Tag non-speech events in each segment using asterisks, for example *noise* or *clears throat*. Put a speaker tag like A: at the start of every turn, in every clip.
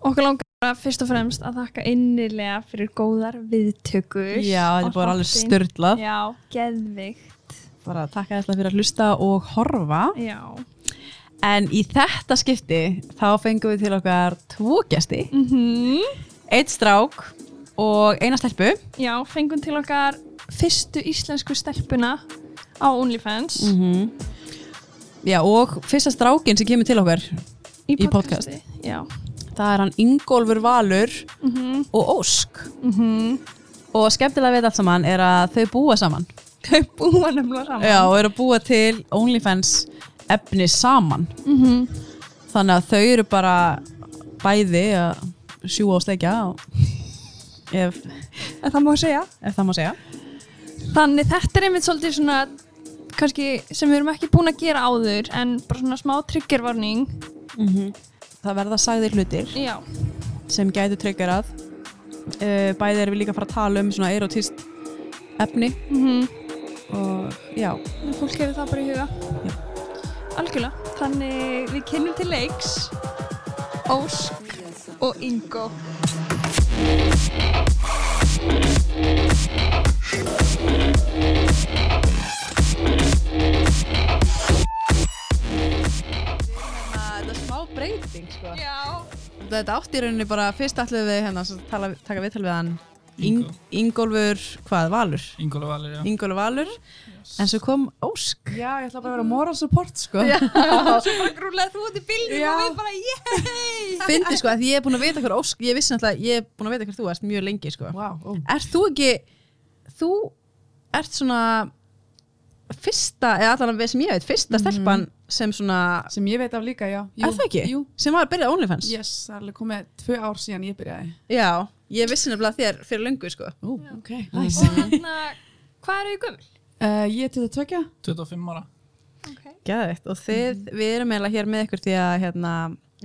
A: Okkur langar bara fyrst og fremst að þakka innilega fyrir góðar viðtökur.
B: Já,
A: á
B: þetta er bara alveg
A: þáttinn.
B: störtlað.
A: Já, geðvikt.
B: Bara takk að þetta fyrir að hlusta og horfa.
A: Já.
B: En í þetta skipti þá fengum við til okkar tvo gesti.
A: Mm
B: Eitt strák og eina stelpu.
A: Já, fengum til okkar fyrstu íslensku stelpuna á OnlyFans
B: -hmm. Já, og fyrsta strákin sem kemur til okkar,
A: í,
B: í
A: podcasti. Já.
B: það er hann Ingólfur Valur
A: Mm -hmm.
B: og Ósk. Og skemmtilega við allt saman er að þau búa saman.
A: Þau búa nefnilega saman.
B: Já, og eru að búa til OnlyFans efni saman.
A: Mhm.
B: Þannig að þau eru bara bæði að sjúa og sleikja og ef,
A: En það má segja.
B: ef það má segja.
A: Þannig þetta er einmitt svolítið svona kannski sem við erum ekki búin að gera áður en bara svona smá triggervarning
B: Mhm. Það verða sagðir hlutir
A: Já,
B: sem gætu tryggarað. Uh, bæði erum við líka að fara að tala um svona erotist efni
A: mm
B: Mhm. og já,
A: fólk hefur það bara í huga
B: Já.
A: Algjörlega, þannig við kynnum til leiks Ósk og Ingo
B: þetta er smá breyting sko.
A: Já,
B: Þetta átt í rauninni bara fyrst ætlum við hérna að tala, taka viðtal við hann Ing, Ingólfur, hvað, Valur?
C: Ingóla Valir, já.
B: Ingólfur Valur, en svo kom Ósk.
D: Já, ég ætla bara að vera moral support sko
A: svo bara grúlega þú út í bílnum
D: Já.
A: og við bara yey
B: Fyndi sko að ég er búin að vita hver Ósk, ég vissi náttúrulega, ég er búin að vita hver þú ert mjög lengi sko.
D: Vá, ó.
B: Ert þú ekki, þú ert svona fyrsta, eða allan við sem ég veit, fyrsta stelpan sem svona,
D: Sem ég veit af líka, já Jú,
B: er það ekki?
D: Jú,
B: Sem var að byrja á OnlyFans?
D: yes, það er alveg komið tvö ár síðan ég byrjaði
B: Já, ég vissi nefnilega þér fyrir löngu sko.
D: Ú, ok, nice
A: Og hann að, hvað eru í gömul?
D: uh, Ég er til að tökja
C: 25 ára.
A: Okay.
B: Gæðvegt, og þið, við erum eiginlega hér með ykkur því að hérna,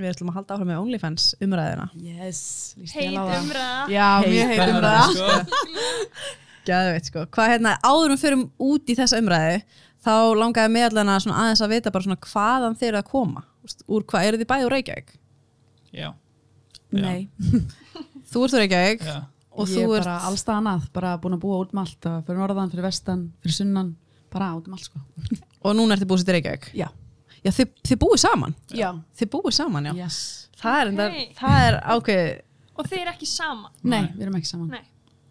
B: við ætlum að halda áfram með OnlyFans umræðina.
D: Yes, líst
A: Heit
D: ég alveg það
A: umræða
D: Já, mér heit um það
C: sko.
B: Gæðveit sko, hvað hérna áður um förum út í þessa umræðu þá langaði mig allan að svona aðeins að vita bara svona hvaðan þeir eru að koma Úst, úr hvað, eru þið bæði úr Reykjavík?
C: Já, Já.
D: Nei,
B: Þú ert úr Reykjavík
C: já.
B: og
D: ég
B: þú
D: er
B: ert
D: bara allstað annað Bara búin að búa út um allt uh, Fyrir norðan, fyrir vestan, fyrir sunnan Bara út um allt sko
B: og núna ertu búið sér í Reykjavík
D: Já,
B: Já, þið, þið búið saman,
D: já,
B: þið búið saman já,
D: yes
B: Það, er, enda-
A: Ok.
B: það er ákveð
A: Og þeir eru ekki saman
D: Nei,
C: Nei.
D: við erum ekki saman
A: Nei.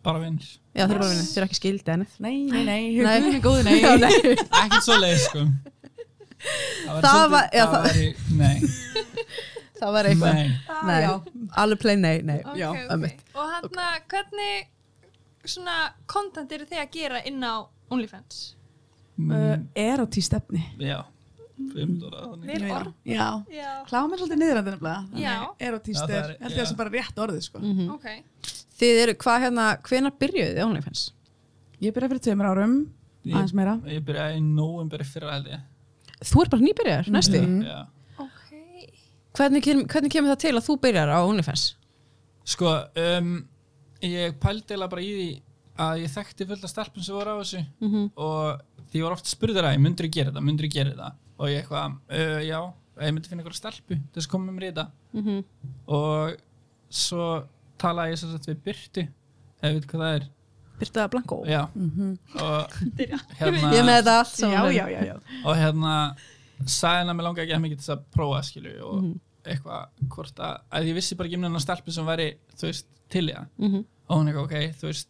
C: Bara vinnir.
B: Já, þið eru bara vinni, þið eru ekki skildið henni
D: Nei, nei, nei,
B: Nei.
D: guðinu góðu, nei
B: *laughs* Já, nei.
C: Ekkert svo leið, sko. Það, væri
B: Það
C: svolítið-
B: var- já, það-
C: það væri,
D: *laughs*
C: nei,
B: Það var eitthvað,
C: nei.
B: nei,
D: já.
B: alveg plain nei, nei
A: Ah, Ok,
B: Já,
A: ok.
B: ömmit
A: Og hann að, hvernig svona content eru þið að gera inn á OnlyFans?
D: uh,
C: Mm,
D: Erotíst efni
C: já, umdóra þannig.
A: Vel orð
D: Já,
A: Já,
D: kláðum er svolítið niðrandi nefnilega
A: Já.
D: Þannig
C: Já,
D: Erotíst
C: það
D: er,
C: er-
D: held ég
C: já.
D: að sé bara rétt orðið sko
A: ok
B: Þið eru, hvað hérna, hvenar byrjuðið í OnlyFans?
D: Ég byrjaði fyrir tveimur árum, aðeins
C: Ég,
D: meira.
C: ég byrjaði í nóumberi fyrra held ég.
B: Þú ert bara nýbyrjar, næstu
D: Mhm.
C: Já.
A: Ok,
B: Mm. hvernig, kem- hvernig kemur það til að þú byrjar á OnlyFans?
C: Sko, um, ég pældi eiginlega bara í því að ég þekkti fullt af stelpum sem voru á þessu og því ég var oft spurður að ég myndur ég gera þetta, myndur ég gera þetta og ég eitthvað, uh, já, ég myndi finna einhverja stelpu til þess að koma með mér í þetta og svo talaði ég svo sett við Byrtu eða veit hvað það er
B: Byrta Blanko
C: já,
B: *laughs*
C: og hérna
B: Ég Mhm. er með þetta allt saman
D: já, já, já.
C: og hérna sagði hann að mér langa ekki að mikið til þess að prófa skilju og eitthvað hvort að, að ég vissi bara ekki um hennar stelpu sem væri þú veist, til ég
B: Mhm.
C: og hún eitthvað, ok, þú veist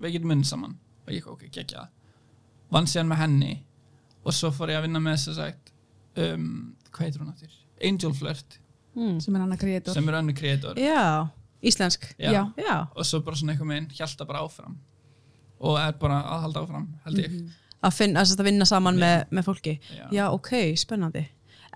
C: við getum munn saman og ég eitthvað, ok, gekkja vann síðan með henni og svo fór ég að vinna með þess að sagt um, hvað heitir hún áttir? Angel Flirt
D: Sem er annað kreator.
C: sem er önnu kreator
B: já, íslensk
D: Já.
B: Eh, já.
C: og svo bara svona einhvern veginn hjálta bara áfram og er bara að halda áfram held ég
B: Að, finn, að, að vinna saman með, með fólki já.
C: Já.
B: ok, spennandi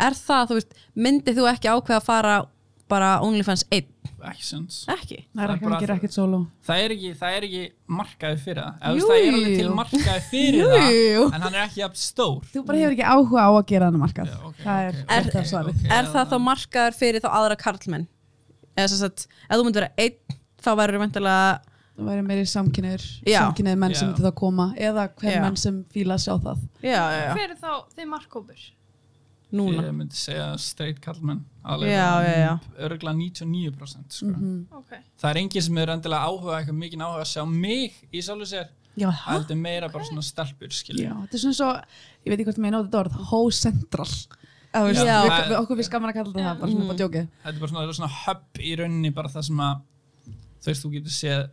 B: er það, þú veist, myndið þú ekki ákveða að fara bara OnlyFans 1
C: ekki sens
B: ekki?
D: Það
C: Það
D: er
C: er
D: ekki að
C: bara-
D: gera ekkert solo.
C: það er ekki, það er ekki markaði fyrir það eða þú
B: Jú,
C: veist, það er alveg
B: jú.
C: til markaði fyrir
B: Jú, jú.
C: það en hann er ekki jafn stór
D: Þú bara hefur ekki áhuga á að gera þannig markað.
C: Já, ok,
D: það er
C: ok,
D: okay,
C: ok,
D: okay, svarið.
C: ok, hérna
B: er það þá markaður fyrir þá aðra karlmenn? eða sem sagt, ef þú myndir vera 1 þá verður væntanlega
D: Það væri meiri samkynniður,
B: Já.
D: samkynniður menn sem
C: Já.
D: myndi þá koma eða hver
B: Já.
D: menn sem fíla að sjá það.
B: já, já, já.
A: hver er þá þið markkópur?
B: núna
C: Ég myndi segja straight kallmenn
B: Já,
C: um
B: já, Mhm. já.
C: Örgla 99% sko.
A: Ok.
C: Það er enginn sem er endilega áhuga eitthvað mikinn áhuga að sjá mig í sjálfu sér
D: Já,
C: Það heldur meira bara svona stelpur skilur
D: Já, þetta er svona svo, ég veit ekki hvort mér nótið þetta orð, ho-central. Já,
B: veist,
D: já. Við,
C: það-
D: við, okkur finnst gaman að kalla þetta það, bara
B: Mm.
D: svona bara djókið.
C: Þetta er bara svona, þetta er svona hub í rauninni bara það sem að þú veist þú getur séð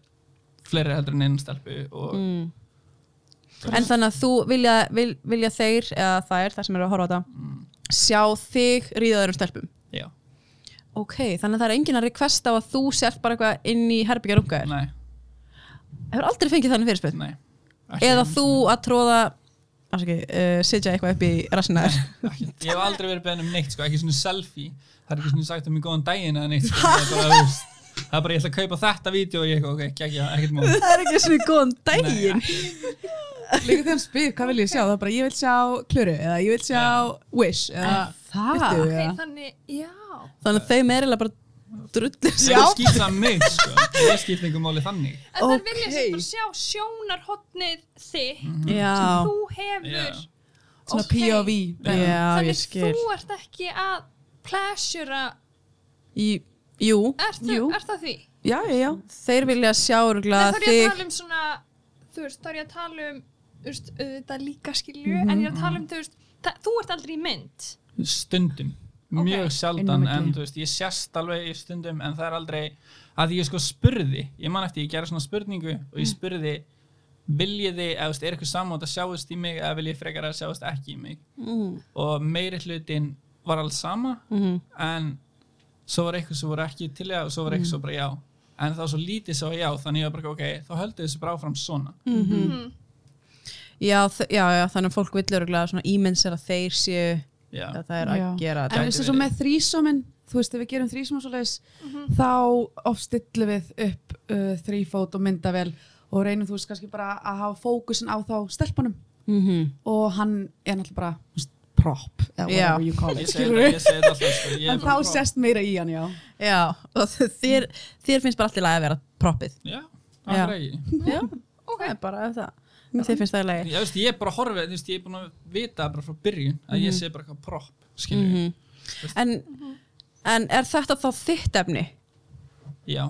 C: fleiri heldur en einn stelpu og
B: mm. En þannig að þú vilja, vil, vilja þeir eða þær, þær sem eru að horfa á þetta sjá þig ríðaður um stelpum
C: mm, já,
B: Ok, þannig að það er enginn að requesta á að þú sért bara eitthvað inn í herbyggja rungaður
C: nei,
B: Hefur aldrei fengið þannig fyrirspil
C: nei Ekki
B: Eða
C: einu
B: þú að tróða Ásaki, uh, sitja eitthvað upp í rassinaður
C: sinni, ekki. Ég hef aldrei verið beðin um neitt sko, ekki svona selfie Það er ekki svona sagt um mig góðan daginn eða neitt sko, það, er bara, þú veist, það er bara ég ætla að kaupa þetta vídeo og ég eitthvað, ok, ekki, ekkert mál
B: *laughs* Það er ekki svona góðan
C: Nei,
B: daginn
D: Líka þegar hann spyr, hvað vil ég sjá? Það er bara, ég vil sjá klöru, eða ég vil sjá wish, eða
B: Það,
D: Viltu?
A: Ok,
D: Já.
A: þannig, já.
B: þannig að þau meirilega bara drullir sig
C: Það skýrða mig sko, það skýrða einhver máli þannig
A: En okay. það vilja
B: Ok. Mm.
A: sem bara sjá sjónarhotnið þitt
B: Já,
A: sem þú hefur.
C: Já.
D: svona
A: Ok.
D: POV.
B: já, ég
A: Þannig
B: skil
A: þú ert ekki að pleasura,
B: Í- Jú,
A: ert, þú,
D: Jú.
A: ert það því?
D: Já, já, já.
B: þeir vilja sjá
A: Nei,
B: örugglega
A: þá er ég að
B: þig
A: tala um svona, þú veist, þá er ég að tala um, þú veist, auðvitað líka skilju, en ég
B: Mhm,
A: er að tala um, þú veist, það, þú ert aldrei í mynd.
C: stundum
A: Ok.
C: mjög
D: Inn
C: sjaldan
D: á milli.
C: en þú veist, ég sést alveg í stundum en það er aldrei að ég sko spurði ég man eftir, ég gerði svona spurningu og ég spurði viljiði, eða þú veist, er eitthvað sammátt að sjáast í mig eða vil ég frekar að sjáast ekki í mig
B: mm.
C: og meiri hlutin var alls sama
B: Mm.
C: en svo var eitthvað sem voru ekki til í það og svo var eitthvað sem bara já en það var svo lítið sem var já, þannig ég var bara ok þá höldu þessu bara áfram svona
A: Mm um-
B: Já, þ- já, já, þannig að fólk vill öruglega svona ímyndsera þeir séu
C: já,
B: að það er að
D: Já.
B: gera
D: En
B: þetta.
D: eins og svo með þrísóminn, þú veist, ef við gerum þrísóminn svo leiðis,
B: Mhm.
D: þá oft stillum við upp uh, þrýfót og mynda vel og reynum, þú veist, kannski bara að hafa fókusin á þá stelpunum
B: Mm
D: og hann er náttúrulega bara, þú veist, prop, eða
B: Já.
D: whatever you call
C: ég
D: it,
C: segi þetta
D: skilur við.
C: ég segi þetta alltaf sko, ég er
D: En
C: bara
D: þá
C: prop.
D: sést meira í hann, já.
B: Já, og þér, þér finnst bara allir lagi að vera proppið.
C: já,
B: Já.
C: það er ekki
B: Já,
A: Ok,
B: það er bara ef það. Þér finnst það í lagi.
C: Ég, veist, ég er bara að horfa, þú veist, ég er búin að vita bara frá byrjun að
B: Mhm.
C: ég sé bara eitthvað propp, skilju.
B: En, en er þetta þá þitt efni?
C: Já,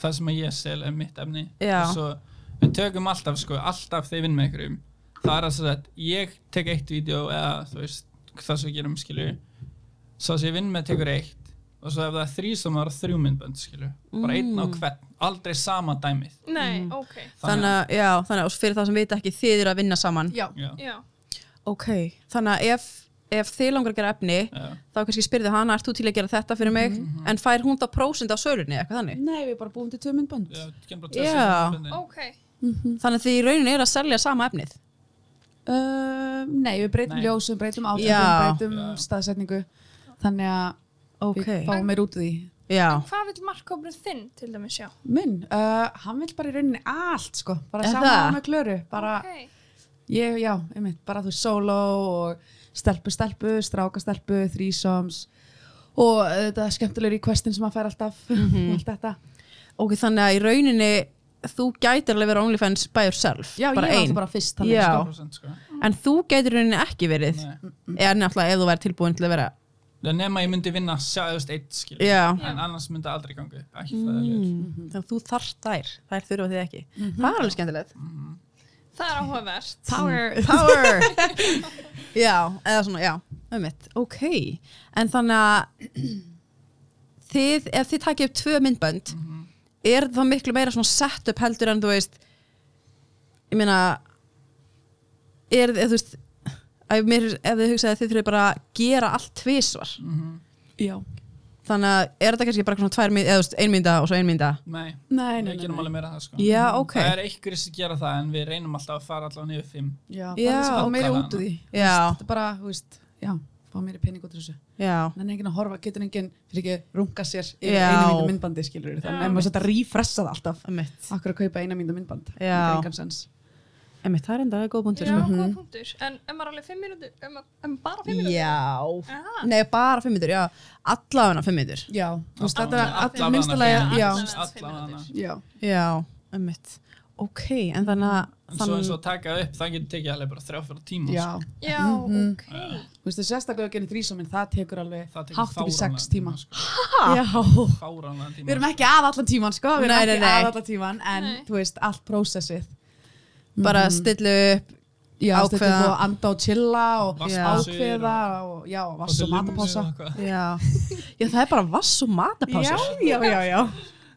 C: það sem að ég sel er mitt efni.
B: Já.
C: Og svo við tökum alltaf, sko, alltaf þegar ég vinn með einhverjum. Það er að segja að ég tek eitt vídeo eða þú veist, það sem við gerum, skilju. Svo sem ég vinn með tekur eitt og svo ef það er þrý sem það er þrjú myndbönd, skilju. Bara einn
B: Mm.
C: á hvern, aldrei sama dæmið.
A: nei, ok,
B: Þannig að, já, þannig að fyrir þá sem vita ekki þið eru að vinna saman.
D: Já,
C: Já,
A: já.
B: Ok, þannig að ef, ef þið langar að gera efni,
C: já.
B: þá kannski spyrðu hana, ert þú til að gera þetta fyrir mig?
A: Mhm.
B: En fær hún þá prósend á sölunni, eitthvað þannig?
D: Nei, við bara búum til tvö myndbönd. Mhm.
C: Já, þú kemur bara
B: Já.
C: tvö sem myndböndin.
A: Ok,
B: Þannig að þið í rauninni eru að selja sama efnið.
D: Uh, nei, við breytum
C: Nei.
D: ljósum, breytum
B: Já.
D: átökum, breytum
C: Já.
D: staðsetningu þannig að við
B: Ok.
D: fáum meir út úr því
B: Já.
A: hvað vil markkópurinn þinn til dæmis sjá?
D: Minn, uh, hann vil bara í rauninni allt sko, bara
B: Er það?
D: saman með klöru bara,
A: Ok,
D: ég, já, einmitt, bara þú veist, solo og stelpu, stelpu, stráka stelpu threesomes og uh, þetta er skemmtilegur í questin sem hann fær alltaf *laughs*
B: Mhm.
D: og allt þetta
B: Ok, þannig að í rauninni þú gætir alveg verið OnlyFans by yourself
D: Já,
B: bara
D: ég er
B: ein,
D: alltaf bara fyrst
B: Já.
D: sko.
C: 100%, sko.
B: en þú gætir í rauninni ekki verið
C: Nei.
B: eða náttúrulega ef þú væri tilbúin til að vera
C: Það nema ég myndi vinna sjáðust eitt skilur
B: Já.
C: en annars myndi aldrei gangi ekki
D: Mm.
C: fræðilegt
B: þannig að þú þarft þær, þær þurfa þið ekki það er alveg skemmtilegt
A: það er áhugavert. Power.
B: *laughs*
A: *laughs*
B: Power Já, eða svona, já, um ok, en þannig að þið, ef þið takið upp tvö myndbönd
A: Mhm.
B: er það miklu meira svona setup heldur en þú veist ég meina er þið, þú veist að mér, ef þið hugsaði að þið þurfið bara að gera allt tvisvar
C: Mhm.
D: Já,
B: þannig að er þetta kannski bara svona tvær mynd, eða þú veist, einmynda og svo einmynda
C: Nei,
D: nei, nei,
C: við
D: nei,
C: gerum
D: nei.
C: alveg meira það sko
B: Já, ok
C: Það er einhverjir sem gera það en við reynum alltaf að fara allavega niður fimm
D: Já,
B: Já.
D: bara sko, meiri
C: Alla
D: út úr því
B: Já.
D: Þú veist, Þetta er bara, þú veist, já, fá meiri pening út úr þessu
B: Já,
D: Þannig enginn að horfa, getur enginn fyrir ekki runga sér yfir
B: Já.
D: einu myndu myndbandi skilur við þannig að maður setja að rífressa það alltaf
B: um
D: Akkur að kaupa eina myndu myndband
B: Já.
D: Það er engan sens
B: það er enda góð punktur sko. Mhm.
A: Já, góð punktur. En er maður alveg fimm mínútur? Er maður, er maður bara fimm mínútur?
B: Já,
A: Aha.
B: nei bara fimm myndur, já, allavega fimm myndur
D: Já, þú veist þetta er
C: Allavega
D: allir minnstulega
C: fimm,
D: Já,
A: Allavega
C: allavega
A: fimm mínútur.
D: já
B: Já, um Ok, en þannig að
C: en svo
B: Þann-
C: eins og að taka það upp, það getur tekið alveg bara þrjá fyrir tíma sko.
D: Já,
A: Já,
D: Mhm.
A: ok.
D: þú veist, sérstaklega að gera þrísóminn, það tekur alveg
C: það tekur
D: hátt upp í sex tíma.
C: sko,
B: Já.
C: fáranlega tíma
D: Við erum ekki að allan tíman, sko, við
B: Ah. Nei,
D: erum
B: nei,
D: ekki
B: nei.
D: að allan tíman, en
A: Nei.
D: þú veist, allt prósessið. Mhm.
B: bara stillu upp
D: Já,
B: ákveða-
D: ákveða. og anda og chilla og
C: Vaska
B: Já.
C: sig
D: ákveða og, já, vass og matapása.
C: og
B: já. já, það er bara vass og
D: Já,
B: matapásur
D: já, já, já.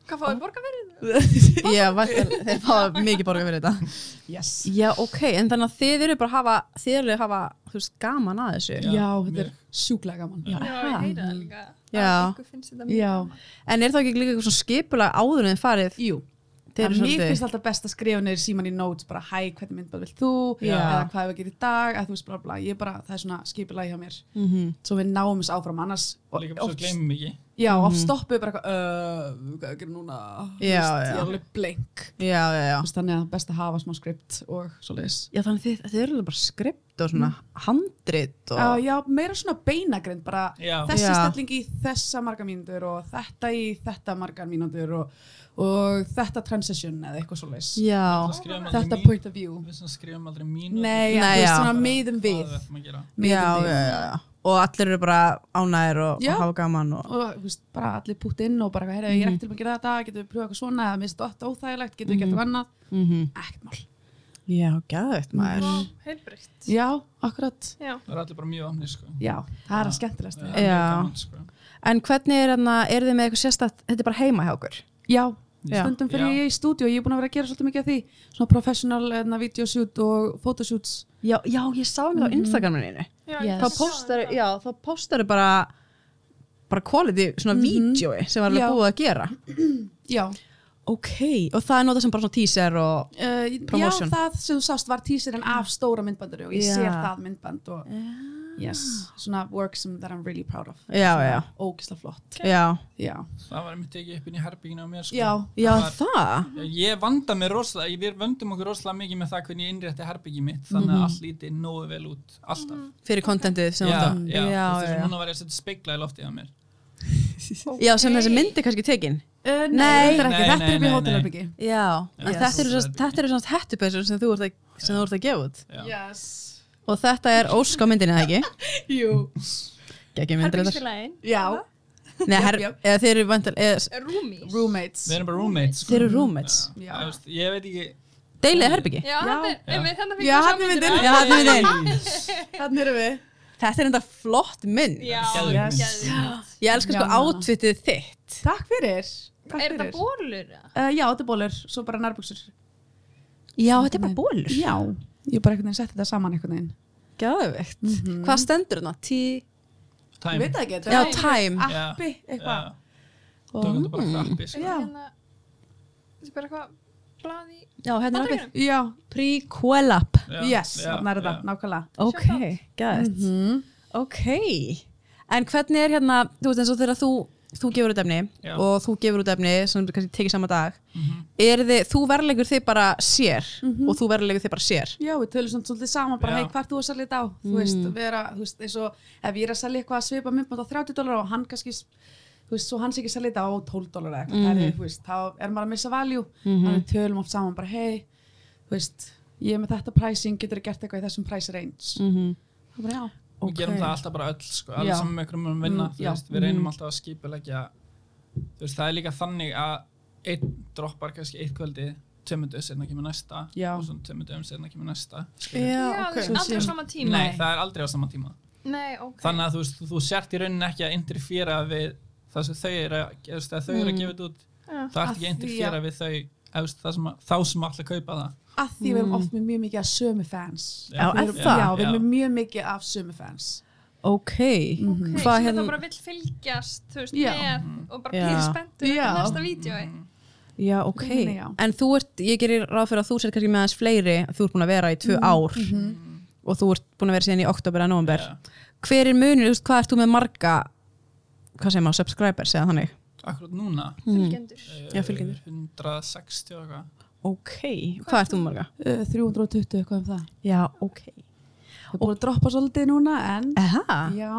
A: Hvað fáið borga fyrir?
B: Já, væntanlega, þeir fá mikið borga fyrir þetta
D: Yes.
B: Já, ok, en þannig að þið eru bara að hafa þið eru að hafa, þú veist, gaman að þessu
C: Já,
D: Já, þetta er
C: mjög.
D: sjúklega gaman.
A: Já, ég heyri það líka.
B: Já.
A: Að ykkur finnst þetta mjög
D: Já.
A: gaman.
B: En er það ekki líka eitthvað svona skipulag áður en þið farið?
D: Jú,
B: Þeir
D: en
B: eru
D: mér
B: svolítið
D: finnst alltaf best að skrifa niður síman í notes bara hæ, hvernig myndbæð vilt þú
B: Já.
D: eða hvað hefur að gera í dag, að þú veist bla bla ég bara, það er svona skipilagi hjá mér
B: mm
D: svo við náum þess áfram, annars
C: líka bara svo gleymum ekki
D: já, oft stoppu bara eitthvað "Uh, hvað er að gera núna, Þú
B: Mhm. Já,
D: veist,
B: já.
D: ég er alveg blank
B: Já, já, já
D: Þú veist, þannig að best að hafa smá skript og svoleiðis
B: Já, þannig að þið, þið eru alveg bara skript og svona handrit og
D: Já, já, meira svona beinagrind bara
C: Já.
D: þessi
B: Já.
D: stelling í þessa margar mínútur og þetta í þetta margar mínútur og, og þetta transition eða eitthvað svoleiðis
B: Já,
C: Við skrifum um aldrei
D: þetta
C: mín-
D: point of view
C: við svona skrifum um aldrei mínu
D: Nei,
B: Nei,
D: þú veist
B: já.
D: svona miðum við
B: já,
D: miðum
B: já,
D: við.
B: já, já. Og allir eru bara ánægir og,
D: Já.
B: og hafa gaman og
D: og þú veist, bara allir pútt inn og bara, heyrðu, ég er ekki til að gera þetta, getum við pröfað eitthvað svona eða minnst þetta óþægilegt, getum við gert eitthvað annað
B: mm
D: ekkert mál.
B: Já, gæðveitt maður
A: Vá, heilbrigt.
D: Já, akkurat
A: Já.
C: það er allir bara mjög ofni sko.
D: Já, Eh, það er að skemmtilegast
C: Það er
D: við
C: mjög
B: Já.
C: gaman, sko.
B: En hvernig er þarna, er þið með eitthvað sérstætt Þetta er bara heima hjá okkur
D: Já,
B: Já.
D: stundum fyrir
C: Já.
D: ég í stúdíu ég er búin að vera að gera svolítið mikið af því svona professional, enna, videoshoot og photoshoots
B: Já, já ég sá það á Instagraminu
A: Já,
D: Yes.
A: ég
B: Þá
A: sá
B: postar,
A: þetta.
B: já, þá postar bara bara quality, svona mm vídjói sem var alveg
D: Já.
B: búið að gera
D: Já,
B: Ok, og það er notað sem bara svona teaser og
D: uh, já
B: Promotion.
D: það sem þú sást var tísirinn af stóra myndbandur og ég
B: Já.
D: sér það myndband og yes, svona work some that I'm really proud of
B: Já,
D: Svona
B: já.
D: ógeðslega flott
B: Já,
D: Já,
C: það var einmitt tekið upp inn í herbygginu á mér sko.
B: *laughs*
D: já,
B: já
C: Það var-
B: það
C: ég vanda mér rosalega, ég- við vöndum okkur rosalega mikið með það hvernig ég innrétti herbyggið mitt þannig að allt lítið nógu vel út alltaf
B: Fyrir kontentið sem
C: já,
B: var Mhm. það
C: já, já,
B: já, já.
C: núna var ég að setja speikla í loftið á mér
B: já, sem
A: Ok.
B: þessi myndi kannski tekin Nei.
D: Uh, nei, þetta er ekki,
C: Nei,
D: þetta er
C: nei,
D: upp í
C: nei,
D: hótelherbyggi
B: Já, en
C: Yes.
B: þetta eru svona- þetta eru svona hettupessur sem þú ert að, sem þú ert að gefa út
C: já.
D: Yes
B: og þetta er ósk á myndinni eða ekki
D: Jú
B: ekki myndir þetta
A: Herbergisfélagin.
D: Já,
B: Nei, her,
D: Jöp,
B: eða þeir eru vantal
A: Eh,
B: eða,
A: Rúmis.
D: roommates
C: við erum bara roommates sko.
B: Þeir eru roommates.
C: já.
D: Já.
C: Já. veist, ég veit ekki
B: deilið herbyggi
A: Já, þetta er,
C: Já.
A: einmitt, þannig að
D: Já,
A: fyrir
D: þarna er myndin.
B: Já, þarna er myndin.
D: Þannig erum við
B: þetta er enda flott mynd
A: Já,
C: Geðveik mynd.
A: yes.
B: ég elska sko
D: Já.
B: átfitið þitt
D: Takk fyrir Takk
A: Er
D: fyrir.
A: þetta bólur? eða?
D: Uh, já, þetta er bólur, svo bara nærbuksur
B: já, þetta er bara bólur
D: Já, ég bara einhvern veginn setti þetta saman einhvern veginn
B: gæðvegt, hvað stendur þarna? tí,
D: Ég
C: time
D: veit það ekki,
B: já,
D: þetta
B: time Mm.
D: er appi eitthvað
C: það er
B: Oh.
C: bara krappi
A: Er
C: sko.
D: Já.
A: þetta hérna- Þetta er bara eitthvað blað í
B: já, hérna er appið
A: Bandaríkjunum?
D: Já,
B: prequel up
D: yes, þannig er þetta, nákvæmlega
B: ok, gæðvegt
D: Mhm.
B: ok, en hvernig er hérna þú veist eins og þegar þú þú gefur út efni
C: Já.
B: og þú gefur út efni sem kannski tekið sama dag
C: Mhm.
B: er þið, þú verðlegur þið bara sér og þú verðlegur þið bara sér
D: Já, við tölum svona svolítið saman bara,
C: Já.
D: hei, hvað ert þú að selja þetta á? Þú veist, vera, þú veist, eins og ef ég er að selja eitthvað að svipa myndband á 30 dólar og hann kannski, þú veist, svo hann sé ekki að selja þetta á 12 dólar eða eitthvað, það er, þú veist, þá er maður að missa value,
B: Mhm.
D: þannig við tölum oft saman bara, hei, þú veist, ég er með þetta pricing, getur þú gert eitthvað í þessum price range? Mm
B: Mhm.
D: -hmm. Það er bara, já,
C: við gerum það alltaf bara öll sko, alveg
D: Já.
C: saman með einhverjum um vinna
D: Mm,
C: þú
D: já.
C: veist, við reynum alltaf að skipulegja þú veist, það er líka þannig að einn droppar kannski eitt kvöldi tömmundu sérna kemur næsta
D: Já.
C: og svona tömmundu um sérna kemur næsta
A: Já,
B: ok.
A: okay. aldrei á
D: Svo
A: sama tíma
C: nei, það er aldrei á sama tíma
A: Nei, ok
C: þannig að þú veist, þú sért í rauninni ekki að interfera við það sem þau eru að, þú veist, að þau eru að gefa þetta út
A: Já.
C: það ert
D: Mm.
C: ekki
D: Af
C: að
D: því
C: interfera við þau eða, þú veist, það sem, að- þá sem ætla að kaupa það
D: að því við erum oft með mjög mikið af sömu fans.
B: Já,
D: Við
B: er
D: erum,
B: það?
D: Mhm. Já, við erum með mjög mikið af sömu fans.
B: ok,
A: okay,
B: Hvað
A: sem
B: hérna-
A: það bara vill fylgjast þú veist,
D: Mhm. Já.
C: Mm.
A: með og bara
B: Já.
A: pýri spenntur
D: Já.
A: eftir næsta eh? vídjói
B: já, ok
D: Þannig, já.
B: en þú ert, ég gerir ráð fyrir að þú sér kannski með aðeins fleiri, þú ert búin að vera í tvö ár og þú ert búin að vera síðan í oktober að november,
C: Já.
B: hver er munur þú veist, hvað ert þú með marga hvað segir maður, subscribers eða þannig
C: akkurat núna
D: Hmm.
A: fylgjendur
B: Já, fylgjendur.
C: 160 og eitthvað
B: ok, hvað ert þú með marga?
D: Uh, 320, eitthvað um það.
B: já, ok
D: Við erum búin að droppa svolítið núna, en...
B: Aha.
D: Já,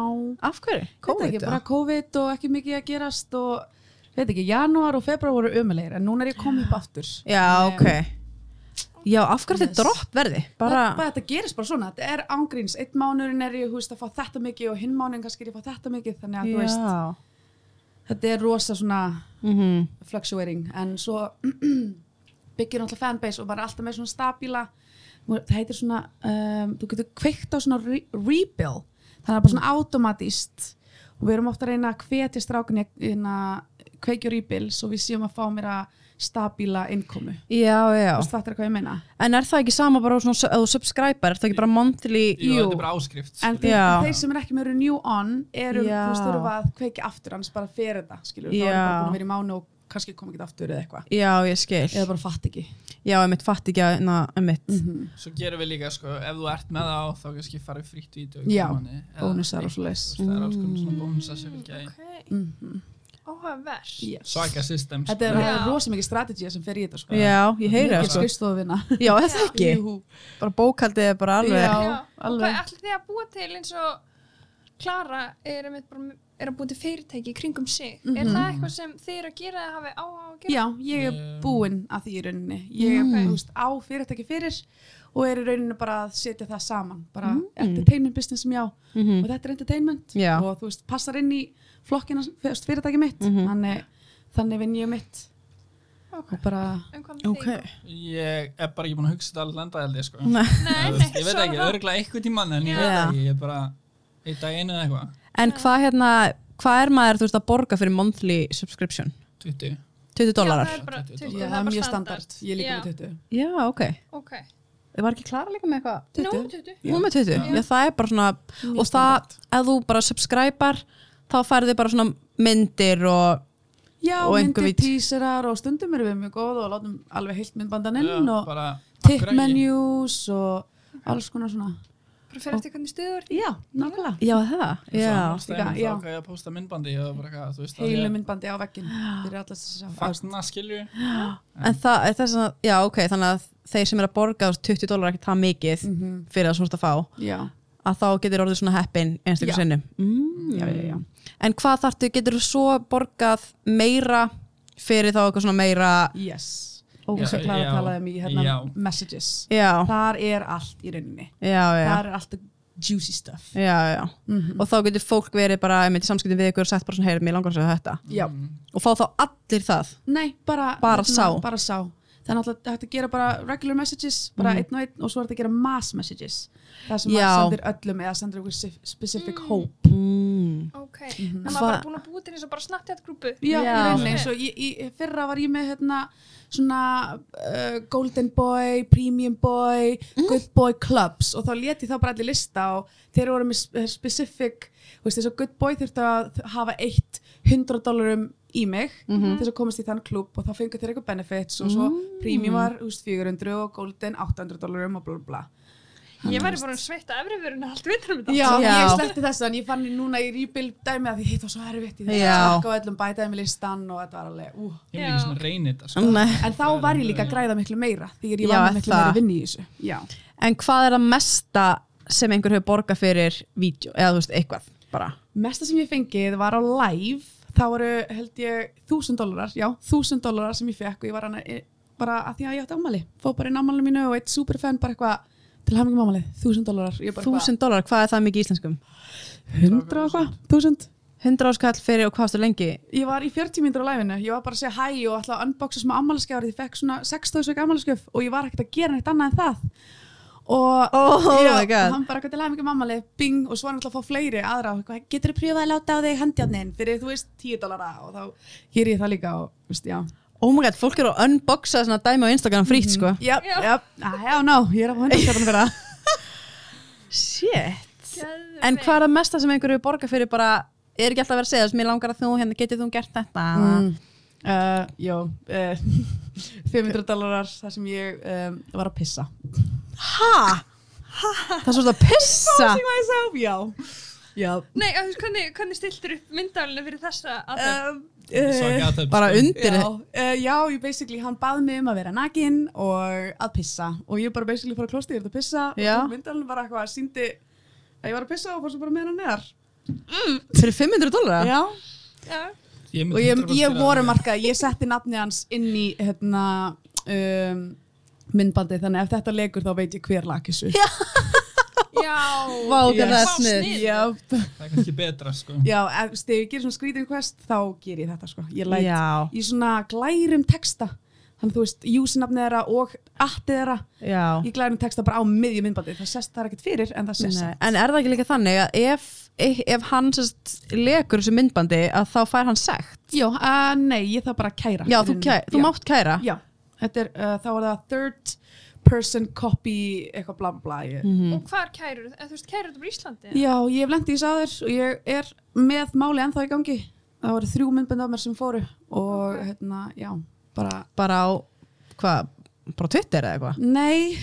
B: Af hverju?
D: COVID, ekki,
B: eða?
D: bara COVID og ekki mikið að gerast og veit ekki, janúar og februar voru ömulegir en núna er ég komið upp aftur
B: Já, ok. Já, af hverju
D: Yes.
B: þetta dropp verði? Bara,
D: bara, bara þetta gerist bara svona, þetta er ángríns einn mánurinn er ég þú veist, að fá þetta mikið og hinn mánurinn kannski er ég að fá þetta mikið þannig að þú veist,
B: já.
D: þetta er rosa svona
B: Mm
D: Mhm. fluctuating en svo *clears throat* byggir náttúrulega fanbase og maður er alltaf með svona stabíla það heitir svona um, þú getur kveikt á svona re rebuild þannig að það er bara svona automatist og við erum ofta að reyna að hvetja strákunni inn að kveikja rebuild svo við séum að fá mér að stabíla innkomu,
B: já, já.
D: þú veist þetta er hvað ég meina
B: En er það ekki sama bara svona, s- ef þú subscriber, er það ekki bara monthly?
C: Jú, þetta er bara áskrift
D: en
C: skilur.
D: þeir,
B: Já.
D: þeir sem er ekki með renew on eru, þú
B: Já.
D: veist, þurfa að kveikja aftur annars bara fyrir þetta, skilur, þá
B: Já.
D: erum við bara búin að vera í mánu og kannski koma ekki aftur eða eitthvað
B: Já, ég skil.
D: eða bara Mhm. fatt ekki
B: Já, ég mitt fatt ekki að, na, ég mitt.
C: Svo gerum við líka, sko, ef þú ert með það á þá kannski farið frítt vídeo í
D: Já,
C: komanni
D: bónusar og svoleiðis. Mhm.
C: Það er alls konar
A: Mm.
C: svona bónusar sem fylgja í
A: Óhafverð
C: Svaka systems
D: Þetta er,
A: Já.
D: það er rosa mikið strategið sem fer í þetta sko.
B: Já, ég heyri það,
D: Mikið
B: sko.
D: skrifstofuna.
B: Já, er það ekki?
D: Jú.
B: Bara bókaldið er bara alveg.
D: Já.
A: Og
D: alveg.
A: hvað ætlir þið að búa til eins og Klara er, einmitt bara, er að búa til fyrirtæki í kringum sig
D: Mhm.
A: Er það eitthvað sem þið eru að gera eða hafi á á að gera?
D: Já, ég er
C: Mm.
D: búinn að því í rauninni. Ég er
A: Mm.
D: þú veist, á fyrirtæki fyrir og er í rauninni bara að setja það saman. Bara
B: Mm.
D: entertainment business sem ég á og þetta er entertainment
B: Mhm. Já.
D: og þú veist, passar inn í flokkina þú veist, fyrirtæki mitt. þannig, þannig vinn ég mitt
A: Ok,
D: og bara,
A: en hvað með
B: Ok.
A: þig?
C: Ég er bara ekki búin að hugsa þetta alveg landa held ég sko
B: Nei.
A: Nei,
C: Þú
A: nei,
C: veist, Ég veit
A: svo
C: ekki,
A: það-
C: örgla eitthvað tíman en ég
A: Já.
C: veit ekki, ég er bara einn dag einu eða eitthvað,
B: En hvað hérna, hvað er maður, þú veist, að borga fyrir monthly subscription?
C: 20
A: Já, það
B: 20 dólarar?
A: er bara 20,
D: já,
A: það er bara
D: mjög standard. Ég er líka
A: Já.
D: með 20.
B: Já, ok.
A: Ok,
B: Ég var ekki klara líka með eitthvað?
A: nú 20
B: Hún er með 20. Já. það er bara svona,
D: Mjög
B: og það, ef þú bara subscriber, þá færðu þið bara svona myndir og,
D: Já,
B: Og einhver
D: myndir,
B: vít.
D: tísarar og stundum erum við mjög góð og látum alveg heilt
C: Já,
D: myndbandaninn og
C: bara, af hverju
D: tip
C: ekki?
D: menus og alls konar svona
A: Bara fyrir eftir hvernig stuður
D: Já, nákvæmlega
B: já, það,
C: Svo
B: já.
C: annars daginn
D: Já.
C: Þá hvað ég að posta myndbandi og bara eitthvað, þú veist að
D: Heilu
C: ég
D: myndbandi á veggin fyrir allast þess að
C: fagna skilju
B: En það er þess að, já, ok, þannig að þeir sem er að borga þú veist, 20 dólarar ekki það mikið
D: Mm.
B: fyrir það svona að fá,
D: Mhm. Já,
B: að þá getur orðið svona heppin einstaklega
D: Já.
B: sinnum. Mm.
D: já, já, já
B: En hvað þartu, getur þú svo borgað meira fyrir þá eitthvað svona meira,
D: Yes, og
C: Já,
D: þess að Klara
C: já,
D: talaði um í hérna
C: já.
D: messages
B: já,
D: Þar er allt í rauninni
B: já, já.
D: Þar er allt juicy stuff
B: Já, já.
D: Mhm.
B: Og þá getur fólk verið bara einmitt í samskiptum við ykkur og sett bara svona, heyrðu, mér langar að segja þetta.
D: Já,
C: Mm,
B: Og fá þá allir það.
D: nei, bara
B: Bara
D: hérna,
B: sá.
D: Bara sá Það er náttúrulega hægt að gera bara regular messages bara einn og einn og svo er þetta að gera mass messages það sem
B: Mhm. Já.
D: maður sendir öllum eða sendir einhver sif- specific hope
B: Mm.
A: Ok,
D: Mhm.
A: en maður
B: Hva-
A: bara búin að búa til eins og bara snattjátt grúpu
B: Já.
D: Já, í rauninni, eins og í, í, fyrra var ég með hérna svona uh, Golden Boy, Premium Boy,
B: Mm.
D: Good Boy Clubs og þá leti þá bara allir lista og þeir voru með sp- eh, specific, þú veist þess að Good Boy þurftu að hafa eitt 100 dólarum í mig
B: Mhm.
D: til þess að komast í þann klub og þá fengur þeir eitthvað benefits og svo
B: Mm.
D: Premium var þú veist, 400 og Golden 800 dólarum og bla bla bla.
A: Ég væri bara að sveita efrivörun allt vitrum þetta
D: Já,
B: Já.
D: ég sleppti þess en ég fann núna í rebuild dæmi að því hitt var svo erfitt í þess
B: Já.
D: að slakka á öllum bætaði með listan og þetta var alveg, úh.
C: Ég vil ekki svona reyna þetta sko
B: Nei.
D: En þá var ég líka að græða miklu meira þegar
B: Já,
D: ég var með miklu
B: það.
D: meira vinn í þessu. Já.
B: En hvað er það mesta sem einhver hefur borgað fyrir vídeo, eða þú veist, eitthvað, bara.
D: Mesta sem ég fengið var á live, þá voru held ég þúsund dólarar, já, þúsund dólarar sem ég fekk og ég var hana e, bara að því að ég átti ámali. Fóð bara inn ámalinu mínu og eitt superfan bara eitthvað til hafingjum ámali, þúsund dólarar. Ég bara
B: Þúsund dólar, hvað er það mikið í íslenskum?
D: eitthvað, hundra og eitthvað, þúsund.
B: 100 áskall fyrir og hvað stu lengi?
D: Ég var í 40 mínútur á liveinu, ég var bara að segja hæ og ætla að unboxa sem ámaliskefur, ég fekk svona 60 sveik ámaliskef og ég var ekkert að gera neitt annað en það. Og
B: Oh
D: já,
B: my god.
D: og hann bara eitthvað til hafa mikið mammalið, bing, og svo er náttúrulega að fá fleiri aðra og eitthvað, getur þú pröfað að láta á þig handjáttnin fyrir, þú veist, 10 dólara og þá hér ég það líka og, veist, já.
B: Oh my god, fólk eru að unboxa svona dæmi á Instagram frýtt, sko.
D: Já,
A: Já.
D: já, já, ná, ég er að fá handjáttnin fyrir *laughs* það.
B: Shit.
A: Geðveikt.
B: En hvað er það mesta sem einhver hefur borgað fyrir bara, er ekki alltaf að vera að segja, þess að mér langar að þú, hérna, getið þú gert þetta?
D: Mm. Uh, já, uh, *laughs* 500 dólarar þar sem ég um, var að pissa.
B: Ha? Það er svona að pissa?
D: Ah. *laughs* myself, já. Já.
A: Nei, að þú veist, hvernig, hvernig stiltur upp myndavlinu fyrir þessa aðeins?
D: Um,
C: Svaka athöfn,
B: Bara
C: sko.
B: undir
D: Já, uh, já, ég basically, hann bað mig um að vera nakin og að pissa og ég bara basically fór að klosti, ég er að pissa
B: Já.
D: og myndalinn bara eitthvað, síndi að ég var að pissa og fór svo bara með hann neðar
B: fyrir 500 dólar?
D: Já,
A: Já,
C: Ég myndi
D: og ég,
C: 100%
D: ég
C: gera
D: voru
C: það.
D: markað, ég setti nafni hans inn í hérna um, myndbandi þannig ef þetta legur þá veit ég hver lag þessu
A: *laughs* Já.
B: Vá, hvað
A: Vá,
B: það er snið.
A: snill.
D: já,
C: það er kannski betra sko
D: já ef þú veist, ef ég gerir svona skrítið quest þá ger ég þetta sko ég læt
B: Já,
D: í svona glærum texta þannig þú veist, júsinafni þeirra og attið þeirra
B: já.
D: í glærum texta bara á miðju myndbandi það sest það er ekkert fyrir en það sest
B: Nei, en er það ekki líka þannig að ef, ef hann sérst lekur þessu myndbandi að þá fær hann sekt
D: já, uh, nei, ég þarf bara að kæra
B: já,
D: í
B: þú,
D: rauninni.
B: kæ, þú
D: Já.
B: mátt kæra
D: Já, þetta er, uh, þá er það third person copy eitthvað bla bla bla ég,
B: Mhm.
A: Og hvar kærur? En þú veist, kærur þetta bara í Íslandi?
D: Mhm. Já, ég hef lendið í sáður og ég er með máli ennþá í gangi það voru þrjú myndbönd af mér sem fóru og hérna, já, bara
B: bara á, hvað, bara á Twitter eða eitthvað
D: Nei,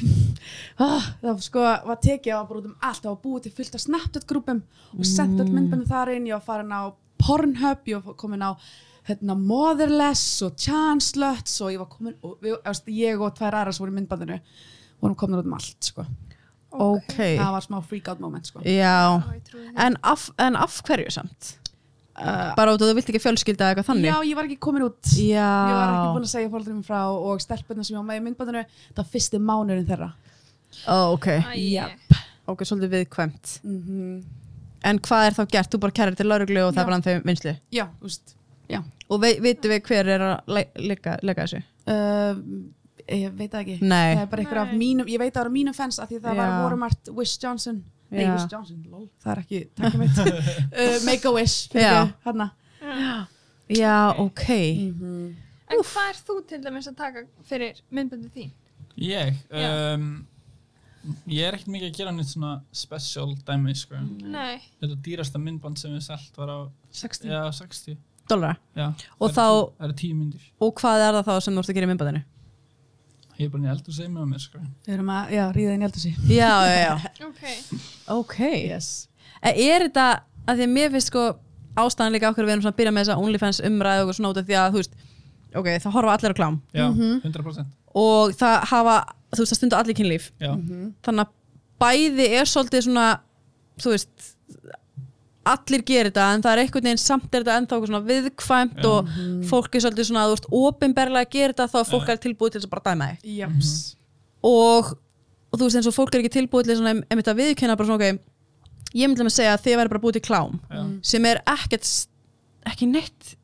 D: ah, það var sko var tekið á bara út um allt, það var búið til fullt af Snapchat-grúpum og
B: Mm.
D: sent öll myndböndum þar inn, ég var farin á Pornhub, ég var komin á hérna, Motherless og Chansluts og ég var komin, og, við, efst, ég og tvær aðra sem voru í myndbandinu vorum komin út um allt, sko.
B: ok,
D: Það var smá freak out moment, sko.
B: já
A: Já, ég trúi
D: Eh.
A: því.
B: en af, en af hverju samt
D: Uh,
B: bara út að þú vilt ekki fjölskylda eða eitthvað
D: já,
B: þannig
D: ég var ekki komin út. Ég var ekki búin að segja fólkdurinn frá og stelpunna sem ég var með í myndbandinu, það var fyrsti mánurinn þeirra.
B: Ó, ok,
A: Æi.
D: Já.
B: ok, svolítið viðkvæmt
D: Mm
B: Mhm. en hvað er þá gert, þú bara kærir til lauruglu og það
D: Já.
B: var hann þeim vinslu
D: Já, þú veist, já.
B: og vei, veitum við hver er að le- leika, leika þessu
D: Uh, ég veit það ekki
B: Nei.
D: það er bara einhver af
A: Nei.
D: mínum, ég veit það eru mínum fans að því það var
B: Já.
D: voru margt Wish Johnson nei,
B: Já.
D: Wish Johnson, lol, það er ekki takk ég
B: *laughs*
D: veit, uh, Make a Wish
B: Já.
D: hann að
B: já, ok
A: Eh.
D: Mm.
B: Mhm.
A: En hvað er þú til dæmis að taka fyrir myndböndið þín?
C: ég
A: Já.
C: um, ég er ekkert mikið að gera neitt svona special dæmi sko
A: Nei.
C: þetta dýrasta myndband sem við selt var á
D: 60
C: já, 60
B: dólar,
C: já,
B: Og
C: það eru
B: þá-
C: tí- það eru tíu myndir
B: og hvað er það þá sem þú ert að gera í myndbandinu
C: ég er bara nýja eldur segið með mér sko
D: við erum að, já, ríða inn í eldhúsi
B: já, já, já
A: Ok.
B: ok,
D: yes.
B: En er þetta að því að mér finnst sko ástæðan líka okkur við erum svona að byrja með þessa OnlyFans umræðu og svona út af því að þú veist ok, það horfa allir á klám
C: já, 100%
B: og það hafa, þú veist, það stunda allir kynlíf
C: já,
B: þannig að bæði er svolítið svona þú veist allir gerir þetta en það er einhvern veginn samt er þetta ennþá eitthvað svona viðkvæmt
C: Já.
B: og fólk er svolítið svona að þú veist ofinberlega að gera þetta þá er fólk er tilbúið til þess að bara dæma þig
D: Japs.
B: Mhm. og, og þú veist eins og fólk er ekki tilbúið til svona, em- einmitt að viðkynna bara svona ok, ég myndi að segja að þið væri bara búið til klám
C: já,
B: sem er ekkert s- ekki neitt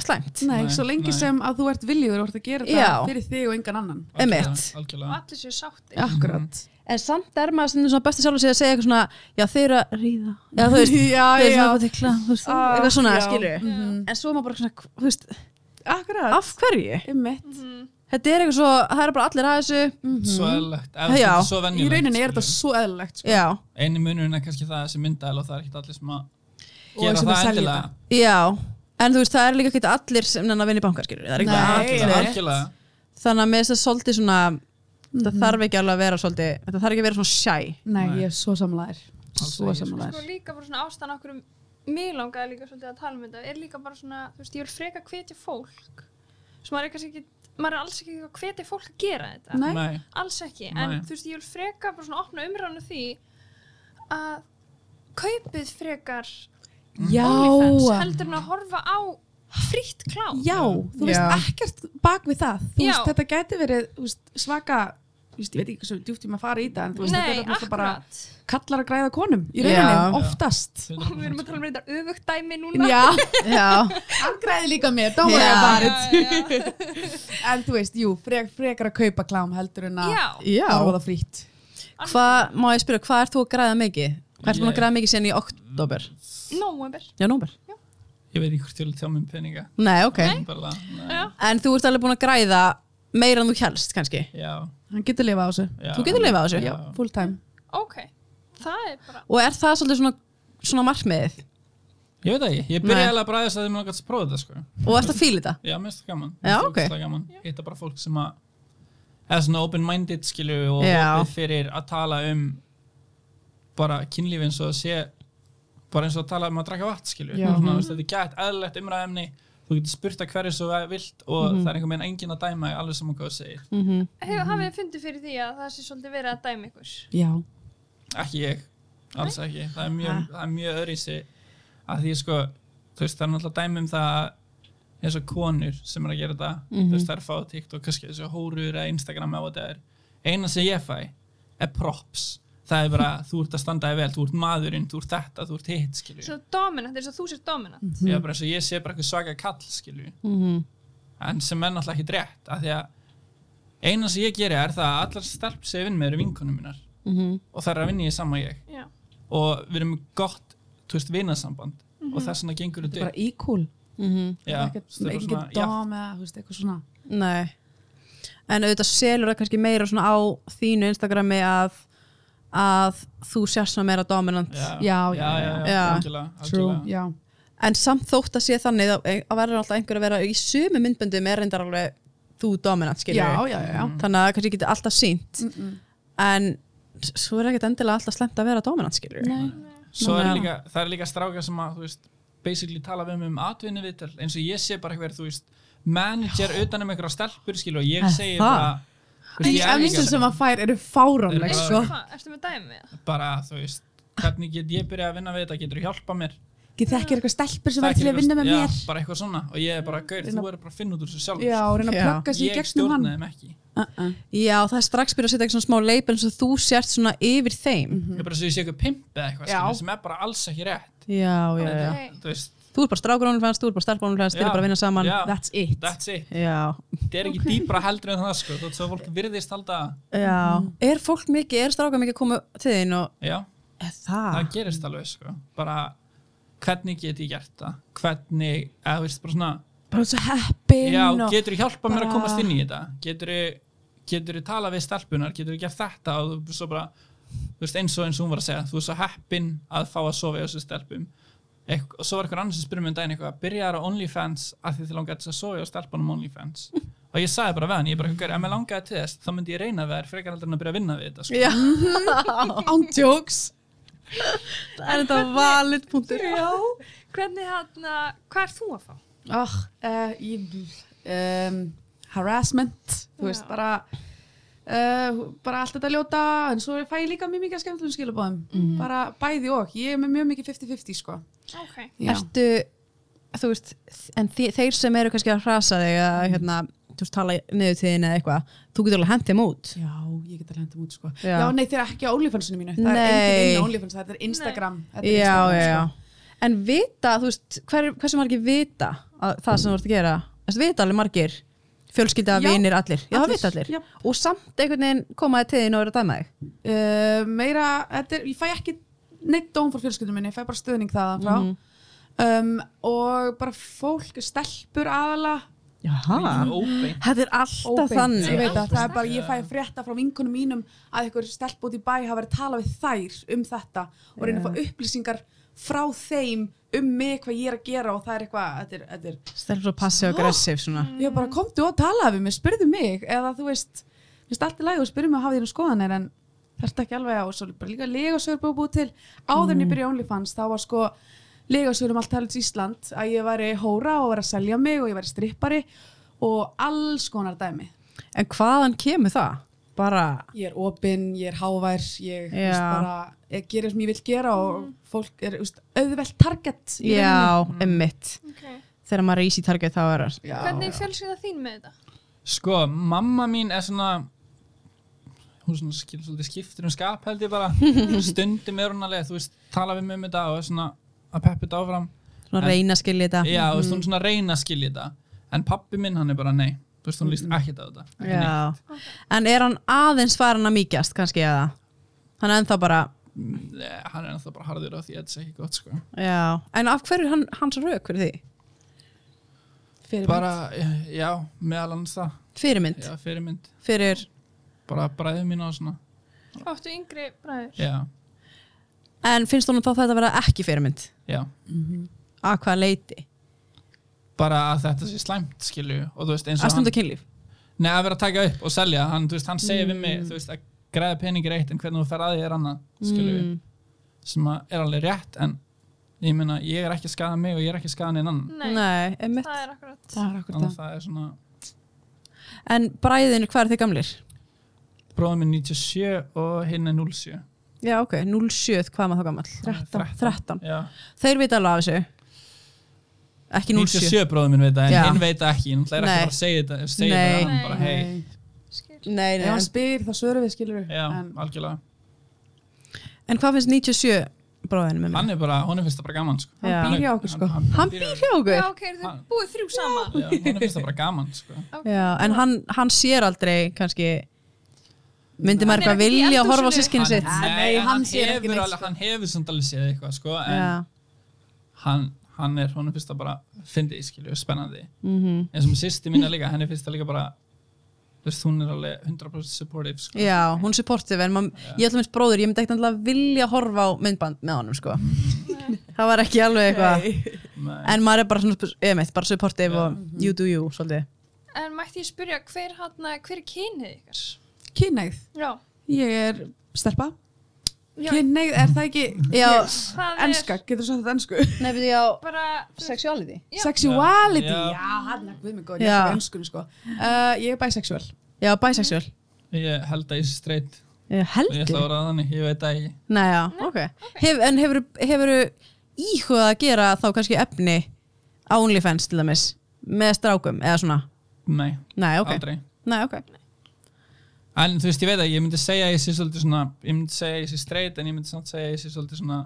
B: slæmt
D: nei,
C: Nei,
D: svo lengi
C: nei.
D: sem að þú ert viljugur og ert að gera
B: Já.
D: þetta fyrir þig og engan annan
B: Einmitt.
C: algjörlega,
A: Og
C: algjörlega.
A: allir séu sáttir.
D: akkurat
C: Mhm.
B: en samt er maður stundum svona besti sjálfur sér að segja eitthvað svona já þeir eru að ríða *laughs* já þú veist,
D: já,
B: þeir eru
D: já,
B: svona búið klá, þú veist,
D: Ah,
B: eitthvað svona
D: já.
B: skilur
A: Já.
B: en svo er maður bara svona, þú veist,
D: akkurat
B: af hverju
D: Einmitt.
A: Mhm.
B: þetta er eitthvað svo, það eru bara allir að þessu
C: svo eðlilegt ef
B: Já.
C: þetta er svo
D: Mhm. í
C: venjulegt
D: rauninni er þetta
C: skilur.
D: svo eðlilegt sko.
B: já,
C: eini munurinn er kannski það þessi myndæl og það er ekkert allir sem að
D: Og
C: gera
D: sem að
C: það
D: selja
C: endilega
B: já en þú veist, það er líka ekkert allir sem nenni að vinna í bankar skilur það er ekki
D: Nei.
B: bara
C: algjörlega,
D: einmitt.
C: algjörlega.
B: þannig að með þess að svolítið svona það þarf ekki alveg að vera svolítið þetta þarf ekki að vera svona shy
D: nei,
C: Nei.
D: ég er svo samlæðir
C: Alls
D: svo
C: ekki,
A: Sko
C: sko.
D: samlæðir
A: líka bara svona ástæðan okkur um mig langaði líka svolítið að tala um þetta er líka bara svona, þú veist, ég vil freka hvetja fólk sem maður er kannski ekki maður er alls ekki að hvetja fólk að gera þetta
D: Nei.
C: Nei,
A: alls ekki, en
C: Nei.
A: þú veist, ég vil freka bara svona opna umræðan af því að kaupið frekar OnlyFans
D: já,
A: heldur en að horfa á frítt klám
D: Já,
B: Já.
D: þú veist ekkert bak við það þú
A: Já.
D: veist, þetta gæti verið þú veist, svaka þú veist, ég veit ekki hversu djúpt ég maður fara í þetta en þú veist,
A: Nei,
D: þetta er náttúrulega bara
A: akkurat
D: kallar að græða konum í
B: Já.
D: rauninni, oftast
A: og við erum að
C: 100%.
A: tala um þetta öfugt dæmi núna
D: Já,
B: já,
D: hann græði líka mér, don't worry
B: Já.
D: about it
A: já,
D: *laughs*
A: já.
D: En þú veist, jú, frek, frekar að kaupa klám heldur en að
A: já.
B: já.
D: borða það frítt
B: Hvað, má ég spyrja, hvað ert þú að græða mikið? Hvað ert þú að
C: Ég-
B: græða mikið síðan í oktober?
A: nóember
B: Já, nómber.
C: ég veit ekki hvort ég vil tjá mér um peninga
B: Nei, ok.
C: bara, nei,
A: Já.
B: En þú ert alveg búin að græða meira en þú helst, kannski.
C: já,
D: Hann getur lifað á þessu,
C: já
B: Þú getur lifað á þessu.
C: Já.
D: full time
A: ok, það er bara
B: Og er það svolítið svona, svona markmiðið?
C: ég veit það ekki, ég
B: Nei.
C: byrjaði alveg að bræðast að þið mér langast að prófa þetta sko.
B: Og ert að fíla þetta?
C: já, mér finnst það gaman,
B: Já,
C: Mér finnst það
B: ok.
C: ógeðslega gaman. hitta bara fólk sem að eða svona open-minded skilju og
B: Já.
C: opið fyrir að tala um bara kynlífi eins og að sé bara eins og að tala um að draka vatn skilju
D: Já.
B: Mhm.
C: Svona, þú veist, þetta er gætt eðlilegt umræðemni þú getur spurt að hverju svo vilt og
B: Mhm.
C: það er einhvern veginn engin að dæma þig, alveg saman hvað þú segir
A: hefur
D: Mhm.
A: hafið þið fundið fyrir því að það sé svolítið verið að dæmi ykkur
D: Já,
C: ekki ég, alls ekki það er mjög, það er mjög öðrisi að því sko, þú veist, það er náttúrulega dæmi um það að eins og konur sem er að gera þetta þú veist, það er að fá á TikTok, kannski þessu hórur eða Instagram eða whatever eina sem ég fæ er props það er bara, þú ert að standa þig vel, þú ert maðurinn þú ert þetta, þú ert hitt, skilju
A: Svona dominant, eins og þú sér
D: Mm.
A: dominant.
C: ég er bara eins og ég sé bara eitthvað svaka kall, skilju
B: Mhm.
C: en sem er náttúrulega ekki rétt af því að eina sem ég geri er það að allar stelp sem ég vinn með eru vinkonum mínar
B: Mhm.
C: og það er að vinna ég saman ég
A: Já.
C: og við erum með gott, þú veist, vinasamband og þess vegna gengur
D: Mhm. þetta er
C: þetta
D: bara equal
B: Mhm.
C: Já,
D: ekkert
C: það er bara
D: ekki
C: svona, já,
D: dám eða þú veist, eitthvað svona
B: Nei En auðvitað selur það kannski meira svona á þínu Instagrami að að þú sérst svona meira dominant
C: já,
D: Já,
C: já,
D: já,
C: já,
B: já.
C: algjörlega, algjörlega.
D: já,
B: en samt þótt að sé þannig þá að verður alltaf einhver að vera í sumu myndböndum er reyndar alveg þú dominant skilur
D: já,
B: við.
D: já, já.
B: þannig að kannski getur alltaf sínt en s- svo er ekkert endilega alltaf slemt að vera dominant skilur við.
C: Svo er
B: Núna-
C: líka, það er líka stráka sem að, þú veist, basically tala við mig um atvinni viðtal, eins og ég sé bara eitthvað, þú veist, manager utan um einhverja stelpur, skilur, og ég
B: Er
C: segi
B: það?
C: bara, þú veist,
D: Því
C: ég er
D: emnsin
C: líka
D: sem að fær eru fáránleg
C: Eru bara-
D: sko.
A: Hvað, ertu með dæmi? eða?
C: bara, þú veist, hvernig get ég byrjað að vinna við þetta, getur hjálpa mér?
D: Ég þekkir eitthvað stelpur sem
C: Það er
D: verður til
C: ekki
D: að vinna
C: eitthvað-
D: með mér
C: Já, bara eitthvað svona, og ég er bara, gaur, þú er bara að finna út úr þessu sjálf.
D: Já, og reyna að
B: Já.
D: plugga sig í
C: ég
D: gegnum hann
C: stjórnaði þeim ekki.
D: Uh-uh.
B: já það er strax byrjað að setja eitthvað svona smá leipel eins og þú sért svona yfir þeim
D: Mhm.
C: Ég er bara svo ég sé eitthvað pimp eða eitthvað,
D: Já.
C: skilur, sem er bara alls ekki rétt.
B: já, já, já.
A: Nei.
C: Þú veist,
B: þú er bara strákurónum fannst, þú er bara stelpurónum fannst þið
C: Já.
B: er bara að vinna saman
C: Já.
B: that's it
C: that's it.
B: já,
C: Það er ekki dýpra heldur en það, sko, þú veist, svo fólk virðist alltaf,
B: já.
D: Mhm.
B: er fólk mikið, er strákar mikið að koma til þín og
C: já,
B: er það,
C: það gerist alveg sko. bara hvernig get ég gert það hvernig, eða þú veist bara svona
D: bara svo heppin
C: já,
D: og...
C: getur þú hjálpað mér að
D: bara-
C: komast inn í þetta getur þú getur þú talað við stelpunar getur þú gert þetta og þú svo bara þú veist eins og eins og hún var að segja þú er svo heppin að fá að sofa í þessu stelpum Eitth og svo var eitthvað annars sem spyrir mig um daginn eitthvað byrjar á OnlyFans að því þið langaði til að sofa á stelpunum OnlyFans *laughs* og ég sagði bara við hann, ég bara, "Gaur, ef mér langaði til þess þá myndi ég reyna við þær frekar heldur en að byrja að vinna við þetta sko.
B: já,
D: án jokes
B: það er þetta valid punktur
A: Já. *laughs* Hvernig hann, hvað er þú að fá?
D: oh, uh, ég, um, harassment þú veist
A: Já.
D: bara uh, bara allt þetta ljóta en svo fæ ég líka mjög mikið af skemmtlum skilabóðum
B: Mhm.
D: bara bæði og, ég er með mjög mikið 50-50 sko
A: Ok.
D: Já.
B: ertu þú veist, en þi, þeir sem eru kannski að hrasa þig að
D: Mm.
B: hérna, þú veist, tala niður til þín eða eitthvað, þú getur alveg hent þeim út
D: Já, ég get að henda út sko
B: Já.
D: Já, nei, þeir eru ekki á OnlyFansinu mínu Það er
B: Nei.
D: engin inn á OnlyFans, þetta er Instagram Þetta er
B: já, já,
D: Instagram, sko.
B: já, en vita þú veist, hver, hversu margir vita að, það sem þú ert að gera, þessi vita alveg margir fjölskylda,
D: Já,
B: vinir, allir já, það
D: allir,
B: vita allir,
D: já.
B: og samt einhvern veginn komaði til þín og eru að dæma þig
D: uh, meira, þetta er, ég fæ ekki neitt dóm frá fjölskyldum minni, ég fæ bara stöðning þaðan frá
B: Mhm.
D: um, og bara fólk, stelpur aðala
B: Jaha.
C: óbeint
B: þetta er alltaf
D: ég
B: þannig
D: veit að það er bara, ég fæ frétta frá vinkunum mínum að einhver stelp út í bæ hafa verið að tala við þær um þetta og reyna að fá upplýsingar frá þeim um mig hvað ég er að gera og það er eitthvað, þetta er, þetta er
B: stelur svo passive aggressive svona
D: ég
A: Mm.
D: bara komdu og talaði við mig, spurðu mig eða þú veist, minnst allt í lagi og spurðu mig að hafa þínu skoðanir en þetta ekki alveg á og svo bara líka legasögur búið búið til áður
B: Mm.
D: en ég byrja í OnlyFans þá var sko legasögur um allt talið Ísland að ég væri hóra og væri að selja mig og ég væri strippari og alls konar dæmi
B: en hvaðan kemur það? bara,
D: ég er opinn, ég er hávær ég,
B: Já.
D: þú
B: Mm.
D: veist, bara, ég gerir sem ég vil gera og fólk er þú veist, auðvelt target í rauninni.
B: já, emmitt
A: okay.
B: þegar maður er í sí target þá er það
D: Já.
A: Hvernig er fjölskylda þín með þetta?
C: Sko, mamma mín er svona hún svona skil, svolítið skiptir um skap held
B: *laughs*
C: ég bara stundum er hún alveg, þú veist, tala við mig um þetta og er svona að peppa þetta áfram
B: svona reyna að skilja þetta
C: Já, þú veist, hún er svona að reyna að skilja þetta en pappi minn hann er bara nei þú veist, hún líst ekkert á þetta ekki neitt.
B: Mm. Já. En er hann aðeins farin að mýkjast kannski eða? Hann er ennþá bara
C: Nei, hann er ennþá bara harður á því að þetta sé ekki gott sko.
B: Já, en af hverju er hann, hans rauk fyrir því?
D: Fyrirmynd.
C: bara, já, meðal annars það
B: Fyrirmynd,
C: já, fyrirmynd,
B: fyrir
C: bara bræðið mín og svona
A: Áttu yngri bræður?
C: já,
B: En finnst honum þá þetta að vera ekki fyrirmynd?
C: já
B: Að hvaða leiti?
C: bara að þetta sé slæmt, skilju og þú veist, eins
B: Að
C: og hann
B: stunda kynlíf?
C: Nei, að vera að taka upp og selja hann, þú veist, hann segir við
D: Mm.
C: mig þú veist, að græða peningir eitt en hvernig þú fer að því er annað skilju mm. sem að er alveg rétt en ég meina, ég er ekki að skaða mig og ég er ekki að skaða neinn annan
A: Nei,
B: Nei einmitt.
A: það er akkurat.
D: það er akkur
C: þannig að
D: það
C: það er svona
B: En bræðin, hvað er þið gamlir?
C: bróðum minn 97 og hinn er 07
B: Já, ok, 07, hvað er maður þá gamall?
C: 13.
B: 13
C: já,
B: Þeir vita alveg af þessu ekki 07
C: 97 bróðum minn veit það, en
B: Já.
C: hinn veit það ekki hann ætlar ekki
B: Nei.
C: bara að segja þetta segja
B: Nei.
C: þetta, hann bara,
A: Nei.
C: hei,
A: skil.
B: nei, nei,
D: Ef hann
B: en,
D: spyr þá svörum við skilur
C: já,
D: en,
C: algjörlega
B: en hvað finnst 97 bróðinu með mér?
C: hann er bara, honum finnst það bara gaman sko.
B: Já.
D: býr hjá okkur, sko.
C: hann,
B: Hann býr hjá
A: Já,
B: okkur
A: ok, eru
C: Hann-
A: þau búið þrjú saman
C: já, honum finnst það bara gaman sko.
B: Já, en hann, hann sér aldrei kannski myndi maður
A: Hann er
B: eitthvað
A: ekkert í
B: vilja að horfa á
A: eldhúsinu.
B: sískinni sitt
C: nei,
D: Nei, hann
C: hann,
D: sér ekki
C: hefur
D: neitt,
C: alveg,
D: sko.
C: hann hefur samt alveg séð eitthvað sko, en
B: Já,
C: hann, hann er, honum finnst það bara fyndið, skilju, spennandi
B: mhm.
C: eins og sýsti mín er líka, henni finnst það líka bara þú veist, hún er alveg 100% supportive sko.
B: Já, hún supportive en man, ég ætla minnst bróður, ég myndi ekkert alltaf vilja horfa á myndband með honum sko. það var ekki alveg eitthvað
C: Nei.
B: en maður er bara, svona, emitt, bara supportive og you do you svolítið
A: En mætti ég spyrja, hver, hana, hver er kynið ykkar?
D: Kynneigð,
A: Já,
D: ég er stelpa
A: já
D: Kynneigð, er það
C: *laughs*
D: ekki
B: Já,
A: það
D: enska, getur þú sagt þetta ensku?
B: nefnir ég á
A: er bara þú veist,
B: sexuality
A: Já.
D: Sexuality,
C: Já.
D: já, hann er guð mig góð, ég
B: Já.
D: er enskun sko uh, Ég er bisexual
B: Já, bisexual
C: ég held að ég sé straight
B: Ég
C: og ég
B: Heldur
C: ætla að vera þannig, ég veit að ég
B: Nei, já, ok Hef, En hefur, hefur íhugað að gera þá kannski efni á OnlyFans til dæmis með strákum eða svona
C: nei,
B: Nei, ok,
C: aldrei
B: Nei, okay.
C: en þú veist, ég veit að ég myndi segja að ég sé svolítið svona, ég myndi segja að ég sé straight en ég myndi samt segja að ég sé svolítið svona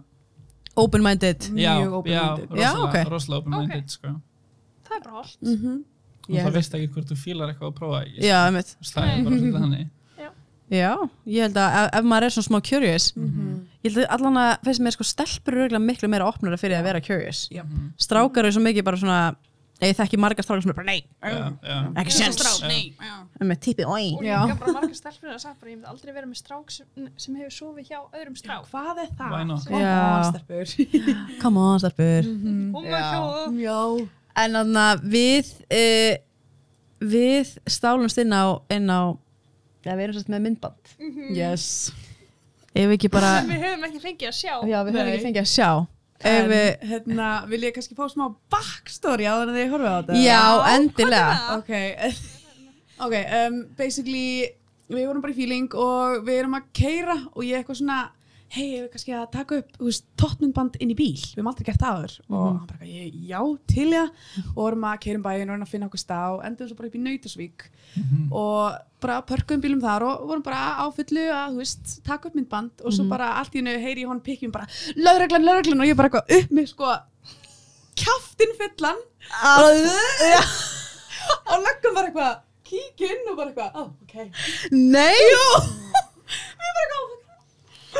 B: Open-minded
D: Mjög
C: já, já,
D: open-minded.
C: rosalega,
B: Já, ok.
C: rosalega open-minded sko.
A: Það er bara hóll
D: mm
B: Mhm,
D: -hmm.
C: og það veist ekki hvort þú fílar eitthvað að prófa ekki
B: Já, einmitt
C: Þú veist, það er bara svolítið
B: *laughs*
C: þannig
B: Já, ég held að ef, ef maður er svona smá curious
D: Mhm.
B: ég held að allan að finnst mér sko stelpur eru örugglega miklu meira opnara fyrir að vera curious
D: Já.
C: Mm.
B: Strákar eru svo mikið bara svona eða ég þekki margar strákar sem eru bara nei,
C: já, já,
B: ekki sens með típi, oi
A: Og líka bara margar stelpur að sagði bara, ég myndi aldrei vera með strák sem, sem hefur sofið hjá öðrum strák
D: Hvað er það?
C: Eh, Why not?
D: Come
B: Já.
D: on, stelpur
B: Come on, stelpur
D: Mhm.
A: Og maður hjá
D: Mm. *laughs* Já,
B: En þannig að við uh, við stálumst inn á inn á, já, við erum sérst með myndband
D: yes
B: Ef við ekki bara,
A: sem við höfum ekki fengið að sjá
B: *laughs* já, við höfum
D: Nei.
B: ekki fengið að sjá Ef
D: En,
B: við,
D: hérna, vil ég kannski fá smá backstory á þannig að ég horfa á þetta?
B: já, endilega
A: það?
D: Ok, ok, *laughs* um, basically, við vorum bara í feeling og við erum að keira og ég eitthvað svona, hei, ég við kannski að taka upp, þú veist, tóttmyndband inn í bíl, við höfum aldrei gert það aður og hann bara, ég, já, til ég og vorum að keira um bæinn og reyna að finna okkur stað og endum svo bara upp í Nautasvík og bara pörkuðum bílum þar og vorum bara á fullu að, þú veist, taka upp myndband og svo bara allt í hennu heyri ég honum pikkjum bara, lögreglan, lögreglan og ég bara eitthvað upp með sko, kjaftin fullan og löggan var eitthvað kík inn og bara eitthvað, oh, ok
B: Nei *laughs*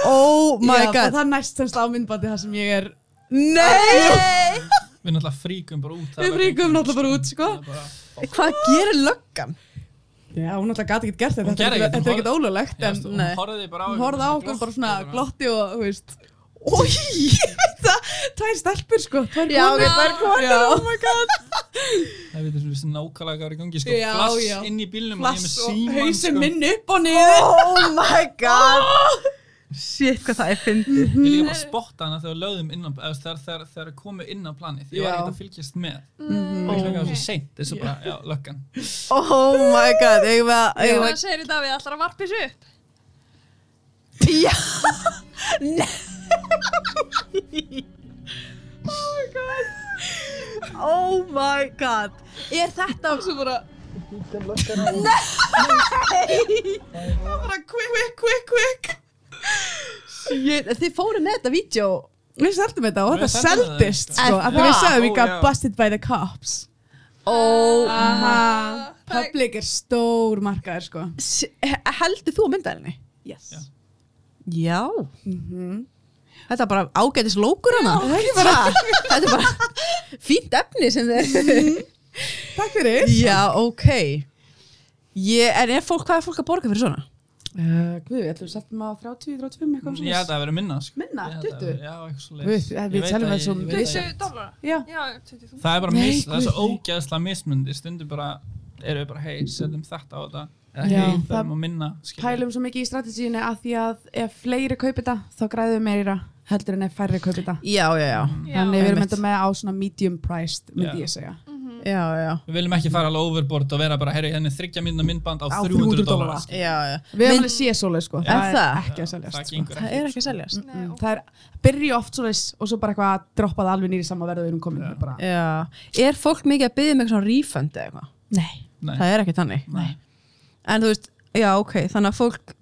B: Oh my
D: Já, og
B: god
D: það er næst semst á myndbandi það sem ég er
B: Nei
C: við náttúrulega fríkum bara út
D: við fríkum náttúrulega bara út sko.
C: bara,
B: *laughs* Hvað gerir löggan?
D: já, hún náttúrulega gæti ekkert gert þetta
C: Hún
D: þetta er
C: gerði
D: ekkert-
C: ekkert,
D: þetta er
C: hún
D: ekkert ólulegt
C: já,
D: en
C: stu, sko, hún
B: Nei.
C: horfði bara á
D: hún
C: ykkur
D: horfði á okkur bara svona
C: glotti
D: glotti og, þú veist Ói, *laughs* ég veit það, tvær stelpur sko, tvær
B: Já, ok,
D: konur.
B: tvær konur,
D: Já.
B: oh my god
C: það veitir svona nákvæmlega hvað er í gangi sko,
D: Já,
C: flass
D: já.
C: inn í bílnum
D: Flass
C: og
D: og
C: ég með síman
D: hausin
C: sko,
D: minn upp og niður.
B: Oh my god *laughs* Shit, hvað það er fyndið
C: ég líka bara spotta hana þegar við lögðum innan eða þegar, þegar, þegar við komum inn á planið því ég var
D: Já.
C: ekkert að fylgjast með og það var svo seint, þessu bara, já, löggan
B: Oh my god, eigum við að eigum við
A: Hvað segir þetta við allar að varpa þessu upp?
B: að- *laughs* Já Nei Oh my god Oh my god Er þetta
D: Svo bara Nei Það var bara quick, quick, quick, quick
B: Shit, þið fóru með þetta vídeo
D: Við seldum þetta og
C: Við
D: þetta
C: seldum þetta,
D: seldist
B: sko.
D: sko, af því við
B: Vá.
C: Ó,
D: sagðum við got
C: já.
D: busted by the cops
B: Oh
D: Aha,
A: Ah.
B: Ah,
A: Það er-
D: public er stór markaður sko
B: S- he- heldur þú að mynda henni?
D: Yes
C: Já.
B: Já Þetta er bara ágætis lókur hana Þetta er bara fínt efni sem þið
D: Takk fyrir
B: Já, ok Ég, En er fólk, hvað er fólk að borga fyrir svona?
D: uh, Guð, ég ætlum við seldum á 30, 35
C: ég
D: eitthvað
C: held að
D: svona
C: það verið minna sko.
D: Minna,
C: Ég held að
D: 20
C: Já, eitthvað svo
D: Guð, eh, við teljum það svo-
A: Vissu dólara?
D: Já,
A: Já, 20.000
C: Það er bara
D: Nei,
C: mis, það er
D: guð.
C: svo ógeðslega mismundi stundum bara, eru við bara hei, setjum þetta á þetta eða
D: Já,
C: hei,
D: það-
C: það er minna skilur.
D: pælum svo mikið í strategíinu af því að ef fleiri kaupi þetta þá græðum við meira heldur en ef færri kaupi þetta
B: Já, já, já
A: Já,
D: Þannig við erum
B: Einmitt.
D: þetta með á svona medium priced myndi
C: Já.
D: ég segja
A: mhm.
B: já, já,
C: Við viljum ekki fara alveg overboard og vera bara, herri, hérna henni þryggja mínna myndband á,
D: Á
C: 300
D: 300
C: dólar.
D: dollara.
B: já, já.
D: Við
B: Mynd-
D: hefum alveg séð svoleið sko,
B: Er það?
D: er ekki að seljast
C: Það
D: sko.
C: gengur
B: það
C: ekki.
B: er ekki að seljast
A: Nei,
D: Mm,
A: ok.
D: Það er, byrja oft svoleiðis og svo bara eitthvað að droppa það alveg nýri saman verðu við erum komin með
B: Mm.
D: bara.
B: Já, er fólk mikið að byggja með eitthvað svona refund eða eitthvað?
D: Nei.
C: Nei.
B: Það er ekki þannig.
C: Nei.
B: En þú veist, já, ok, þannig að fólk,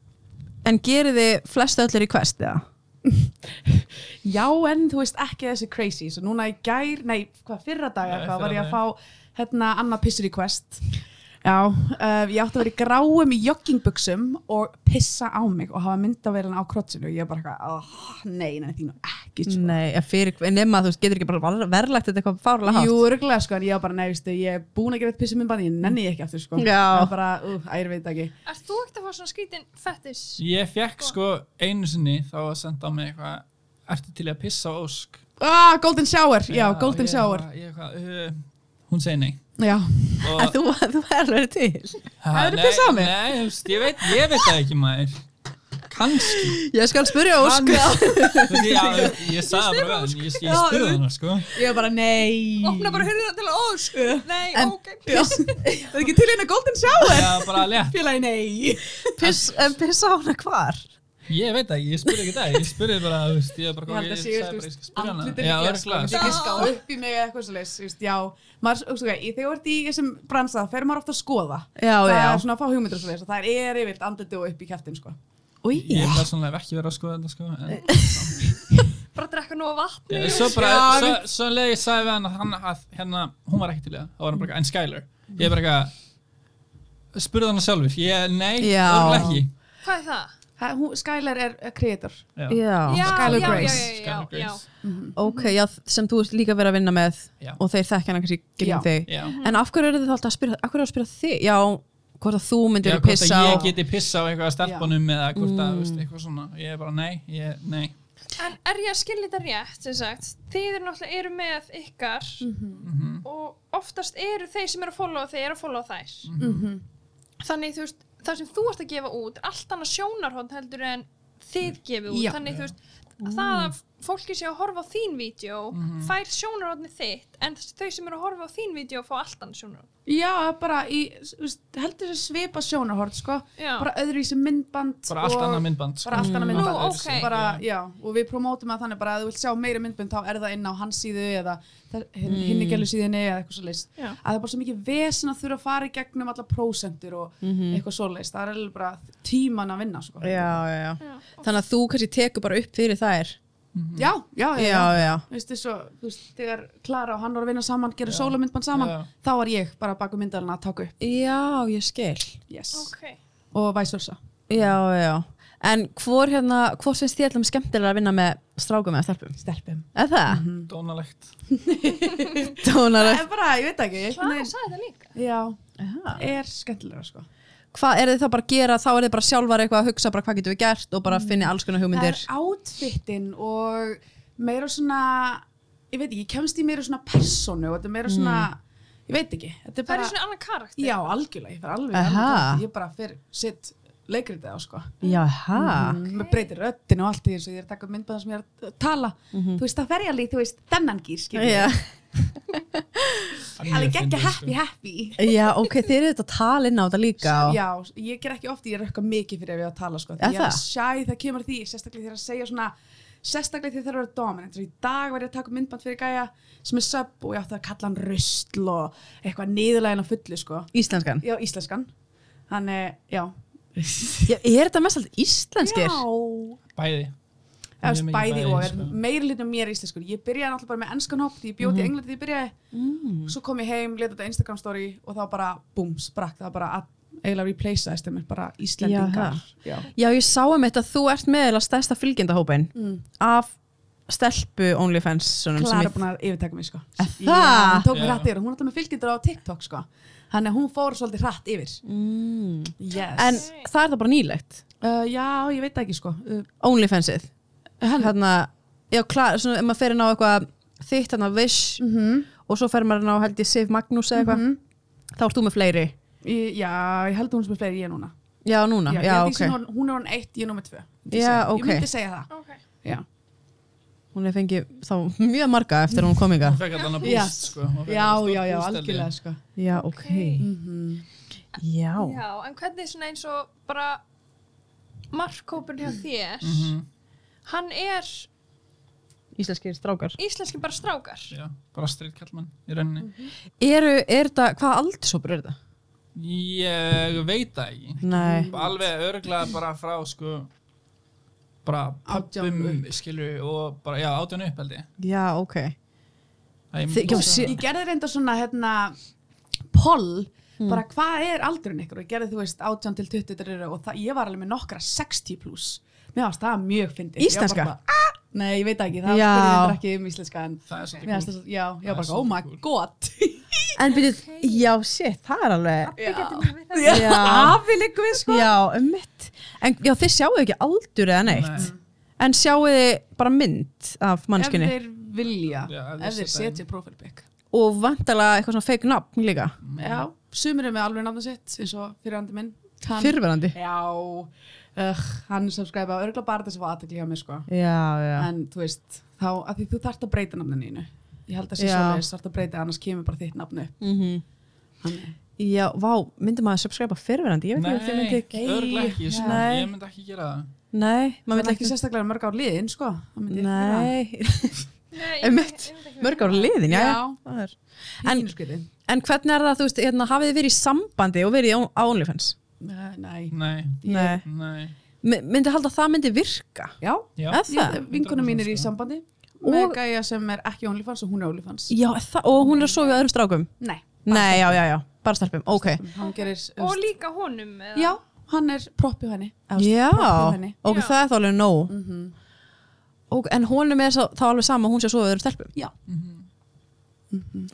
B: en gerir þið flestu öllir í quest eða?
D: Já, en þú veist ekki þessi crazy Svo núna í gær, nei, hvað fyrra dag
C: Nei,
D: eitthvað
C: fyrra
D: var ég
C: dag.
D: að fá hérna annað piss request Já, uh, ég átti að vera í gráum í joggingbuxum og pissa á mig og hafa myndavélina á krotsinu og ég bara eitthvað, oh, nei, nei, þínu ekki sko.
B: Nei, að fyrir, nema þú veist, getur ekki bara var- verðlagt þetta eitthvað fárlega hátt?
D: Jú, örgulega sko, en ég var bara, nei, veistu, ég er búin að gera eitt pissum minn bann, ég nenni því ekki aftur sko.
B: Já.
D: Það var bara, uh, að ég veit ekki.
A: Erst þú ekkert að fá svona skrítin fettis?
C: Ég fekk sko einu sinni þá að senda á mig eitthvað, ertu til í að pissa á Ósk?
D: Ah, golden shower, já, golden
C: ég
D: shower.
C: eitthvað- Ég eitthvað, uh, hún segir nei.
D: Já,
B: En þú, *laughs* þú er alveg til.
D: Hefurðu pissað á mig?
C: Nei, þú veist, ég veit, ég veit það ekki maður. Kanski.
B: Ég skal spyrja Ósk.
D: *laughs*
C: Hann- Já, ég, ég sagði bara vel, ég, ég stuði hana sko.
D: ég var bara, nei.
A: Opna bara hurðina til að ósk Nei,
B: En-
A: ok
D: Það er ekki til hérna golden shower.
C: Já, bara létt.
D: Félagi, nei.
B: Piss, en pissa á hana hvar?
C: Ég veit það ekki, ég spurði ekki það, ég spurði bara, þú veist, ég bara
D: Ég held að
C: ég
D: séu,
C: sagði
D: þú
C: bara, ég
D: veist,
C: skal spyrja hana.
D: andlitin
C: Já,
D: ekki, sko,
C: örglega.
D: myndi ekki ská
B: Ah.
D: upp í mig eða eitthvað svoleiðis, þú veist, já. Maður, þú veist, ok, í- þegar þú ert í þessum bransa, það fer maður ofta að skoða.
B: Já,
D: það
B: já.
D: er svona að fá hugmyndur og svoleiðis, og það er yfirlt andliti og upp í kæftin, sko.
B: Úi,
C: Ég er persónulega hef ekki verið að skoða þetta sko. En,
A: Bara drekka nóg af vatni
C: Já, svo bara,
D: Já,
C: svo, svo leiði ég sagði við hann að, hann að hérna, hún var ekki til í það, þá var hann bara eitthvað, en Skyler, ég er bara eitthvað, spurði hann sjálfur, ég, nei,
B: Já.
C: örugglega ekki.
A: Hvað er það?
D: Ha, hún, Skylar er er creator.
B: já.
A: Já,
D: Skylar
A: já, já, já,
D: Grace.
C: Skylar
A: já, já.
C: Grace.
B: Ok, já, sem þú ert líka verið að vinna með
C: Já.
B: og þeir þekkja hana kannski gegnum
D: Já.
B: þig.
C: Já.
B: En af hverju eru þið þá alltaf að spyrja, af hverju eru að spyrja þig? Já, hvort að þú myndir
C: Já,
B: að
C: hvort
B: pissa
C: að
B: á...
C: ég geti pissa á eitthvað að stelpunum eða hvort að, veist, eitthvað svona, ég er bara, nei, ég, nei.
A: En er ég að skilja þetta rétt, sem sagt Þið eru náttúrulega eru með ykkar
D: Mhm.
A: og oftast eru þeir sem eru að followa þeir eru að followa þær
D: Mhm.
A: Þannig þú veist, það sem þú ert að gefa út er allt annað sjónarhótt heldur en þið gefið út,
D: Já.
A: þannig þú veist það að fólki sé að horfa á þín vídeo fær sjónarhóttni þitt en þau sem eru að horfa á þín vídeo fá allt annað sjónarhótt
D: Já, bara í, þú veist, heldur þessu svipa sjónahort, sko.
A: Já.
D: Bara öðruvísi myndband
C: Bara allt
D: og-
C: annað myndband, sko.
D: bara allt annað myndband
A: Nú, ok.
D: bara, Mm. já, og við promótum að þannig bara að þú vilt sjá meira myndband þá er það inn á hans síðu eða hinni gælu síðinni eða eitthvað svo leist
A: Já.
D: að það er bara svo mikið vesen að þurfa að fara í gegnum alla prósendur og
C: Mhm.
B: Mhm.
D: eitthvað svo leist það er alveg bara tíman að vinna sko.
B: Já, já, já. Þannig að þú kannski tekur bara upp fyrir þær.
D: já, já, já,
B: Já,
D: já.
B: já.
D: Þú Veist, svo, þú veist, þegar Klara og hann voru að vinna saman gera sólamyndband saman,
C: Já.
D: þá var ég bara baku myndalina að taka upp
B: Já, ég skil.
D: yes.
A: okay.
D: og vice versa
B: Já, já. En hvor hérna, hvort finnst þið allum skemmtilega að vinna með strákum eða stelpum?
D: stelpum
B: Er það?
C: Dónalegt.
B: Mm. *laughs* Tónar.
D: en bara, ég veit ekki ég-
A: Klara sagði það líka
D: já,
B: Aha.
D: er skemmtilega sko
B: Hvað er þið þá bara að gera? Þá er þið bara sjálfar eitthvað að hugsa bara hvað getum við gert og bara finni alls konar hugmyndir.
D: Það er outfitin og meira svona, ég veit ekki, ég kemst í meira svona personu og þetta er meira svona, ég veit ekki. Þetta Mm. er
A: Það
D: bara,
A: er svona annan karakter
D: já, algjörlega, ég fer alveg,
B: Aha.
D: alveg ég bara fer sitt leikritið á sko.
B: Já, hæ?
D: Mm, maður breytir röddin og allt í þessu, ég er að taka myndbæðan sem ég er að tala. Þú veist, það fer ég alveg, í, þú veist, þennan gýr, skilur.
B: Mhm. Já.
D: Alveg geggja
C: sko.
D: happy, happy.
B: Já, ok, þið eru þetta að tala inn á þetta líka. og-
D: Já, ég ger ekki ofti, ég rökka mikið fyrir ef ég á að tala sko.
B: Er
D: Því ég er
B: það?
D: sjæ, það kemur að því, sérstaklega þegar að segja svona sérstaklega þegar það eru dominant Svo í dag var ég að taka myndband fyrir gæja sem er sub og ég átti að kalla hann rusl og eitthvað niðurlægin á fullu sko.
B: Íslenskan.
D: Já, íslenskan Þannig, já
B: Já, er þetta mest alltaf íslenskir?
D: Já,
C: Bæði.
D: það
C: Mjög
D: er
C: mikið
D: bæði og Mhm. er
C: sko.
D: meiri litur mér íslenskur Ég byrjaði náttúrulega bara með enskan hóp því ég bjóti í Englandi því ég byrjaði
B: Mm.
D: Svo kom ég heim, leta þetta Instagram story og þá bara, búm, sprakk það bara að eiginlega replaceaðist þeim bara Íslendingar Já,
B: Já, ég sá um þetta að þú ert með eða stærsta fylgjendahópin
D: Mm.
B: af stelpu OnlyFans svona,
D: Klara er búin að yfirtaka mig sko Já,
B: það?
D: hún tók mig
C: Já.
D: hratt yfir, hún er alltaf með fylgjendur á TikTok sko Þannig að hún fór svolítið hratt yfir
B: mm.
D: yes.
B: En það er það bara nýlegt
D: uh, Já, ég veit það ekki sko uh,
B: OnlyFansið Hérna, já, klar, svona, ef maður fer inn á eitthvað þitt, hérna, Vish og svo fer maður inn á, held ég, Sif Magnús eða eitthvað
D: Mhm.
B: þá ert þú með fleiri
D: ég, Já, ég held að hún sem er fleiri en ég núna
B: Já, núna, já,
D: ég held ég sé
B: ok
D: Hún, hún er hún eitt, ég er númer tvö Myndi
B: Já,
D: segja-
B: ok.
D: Ég myndi segja það
A: okay.
D: Já,
B: hún er fengið þá mjög marga eftir að hún kom
C: hún
B: kominga
C: fekk allan að
D: Já.
C: búst sko. Hún fékk
D: já,
C: allan að
D: já, já,
C: boost, held ég.
D: algjörlega sko.
B: já, ok, já,
A: Já, en hvernig svona eins og bara markkópur hjá þér
C: Mhm.
A: hann er
B: íslenskir strákar
A: íslenski bara strákar
C: Já, bara streit kallmann í rauninni
B: eru, er þetta, hvaða aldursopur er þetta?
C: ég veit það ekki
B: nei,
C: alveg örglega bara frá sko bara pappum
D: Átján
C: skilur og bara, já, átján upp held ég
B: já, ok
C: Það er
B: Þið-
C: mjög-
B: Já, sé-
D: ég gerði reynda svona hérna poll
B: Mm.
D: bara hvað er aldurinn ykkur og ég gerði þú veist 18 til 20 dröru, og það, ég var alveg með nokkra 60 pluss mér varst það mjög fyndið Ég var
B: Íslenska?
D: bara bara, "Ah!" nei ég veit það ekki það
B: Já.
D: spurði reyndar ekki um íslenska en
C: það er svolítið
D: mér varst
C: cool.
D: það svo- já,
C: Það
D: já
C: er
D: bara oh
C: svolítið
D: my
C: cool.
B: *laughs*
D: god
B: en byrjuð, já, shit, það er alveg
A: Við getum verið það.
B: Já.
D: *laughs* afi liggum við sko
B: já, um mitt en já, þið sjáu ekki aldur eða neitt en sjáu þið bara mynd af mannskinni
D: ef þeir vilja,
C: Já, ef þeir
D: ef þeir
C: setja inn.
D: setja profile pic
B: og vantalega eitthvað svona fake nafn líka
D: já, sumir eru með alveg náttúrulega sitt eins og fyrirandi minn hann,
B: fyrverandi
D: já, uh, hann subscribe á örgla bara þess að aðtakli hjá mér sko
B: já, já,
D: en þú veist, þá, að því þú þarft að breyta nafninu þínu. ég held að sé
B: Já.
D: svoleiðis, þarft að breyta annars kemur bara þitt nafnu upp.
B: mm
D: Þannig.
B: já, vá, myndi maður subscribe að fyrverandi ég veit ekki hvort þið myndi
C: Nei, örglega ekki, ég, svona,
B: Nei.
C: ég myndi ekki gera það
B: nei, maður
D: þannig
B: myndi
D: ekki
B: ekki
D: sérstaklega mörg ár liðin sko Það myndi ég gera.
B: nei,
A: Nei, ég-
B: Einmitt.
A: ég veit ekki
B: mörg ára liðin, já, já.
D: Já.
B: það er- En-
D: pínu skrítið
B: en hvernig er það, þú veist, hérna, hafið þið verið í sambandi og verið í á- á OnlyFans
D: Nei, nei.
C: nei,
B: nei,
C: nei,
B: M- myndi halda að það myndi virka
D: já,
C: já
B: Er það?
D: vinkunum mín er í
C: 100% sko.
D: sambandi með
B: Og-
D: gæja sem er ekki OnlyFans og hún er OnlyFans
B: já, það, og hún er að sofa við öðrum strákum
D: nei,
B: nei, já, já, já, bara stelpum, ok
D: hann gerir
A: Og líka honum eða?
D: já, hann er proppi henni
B: já,
D: proppi henni Mhm.
B: ok,
A: Já.
B: það er þá alveg nóg og, en honum er sá- þá alveg sama að hún sé að sofa við öðrum stelpum Mhm.
D: já,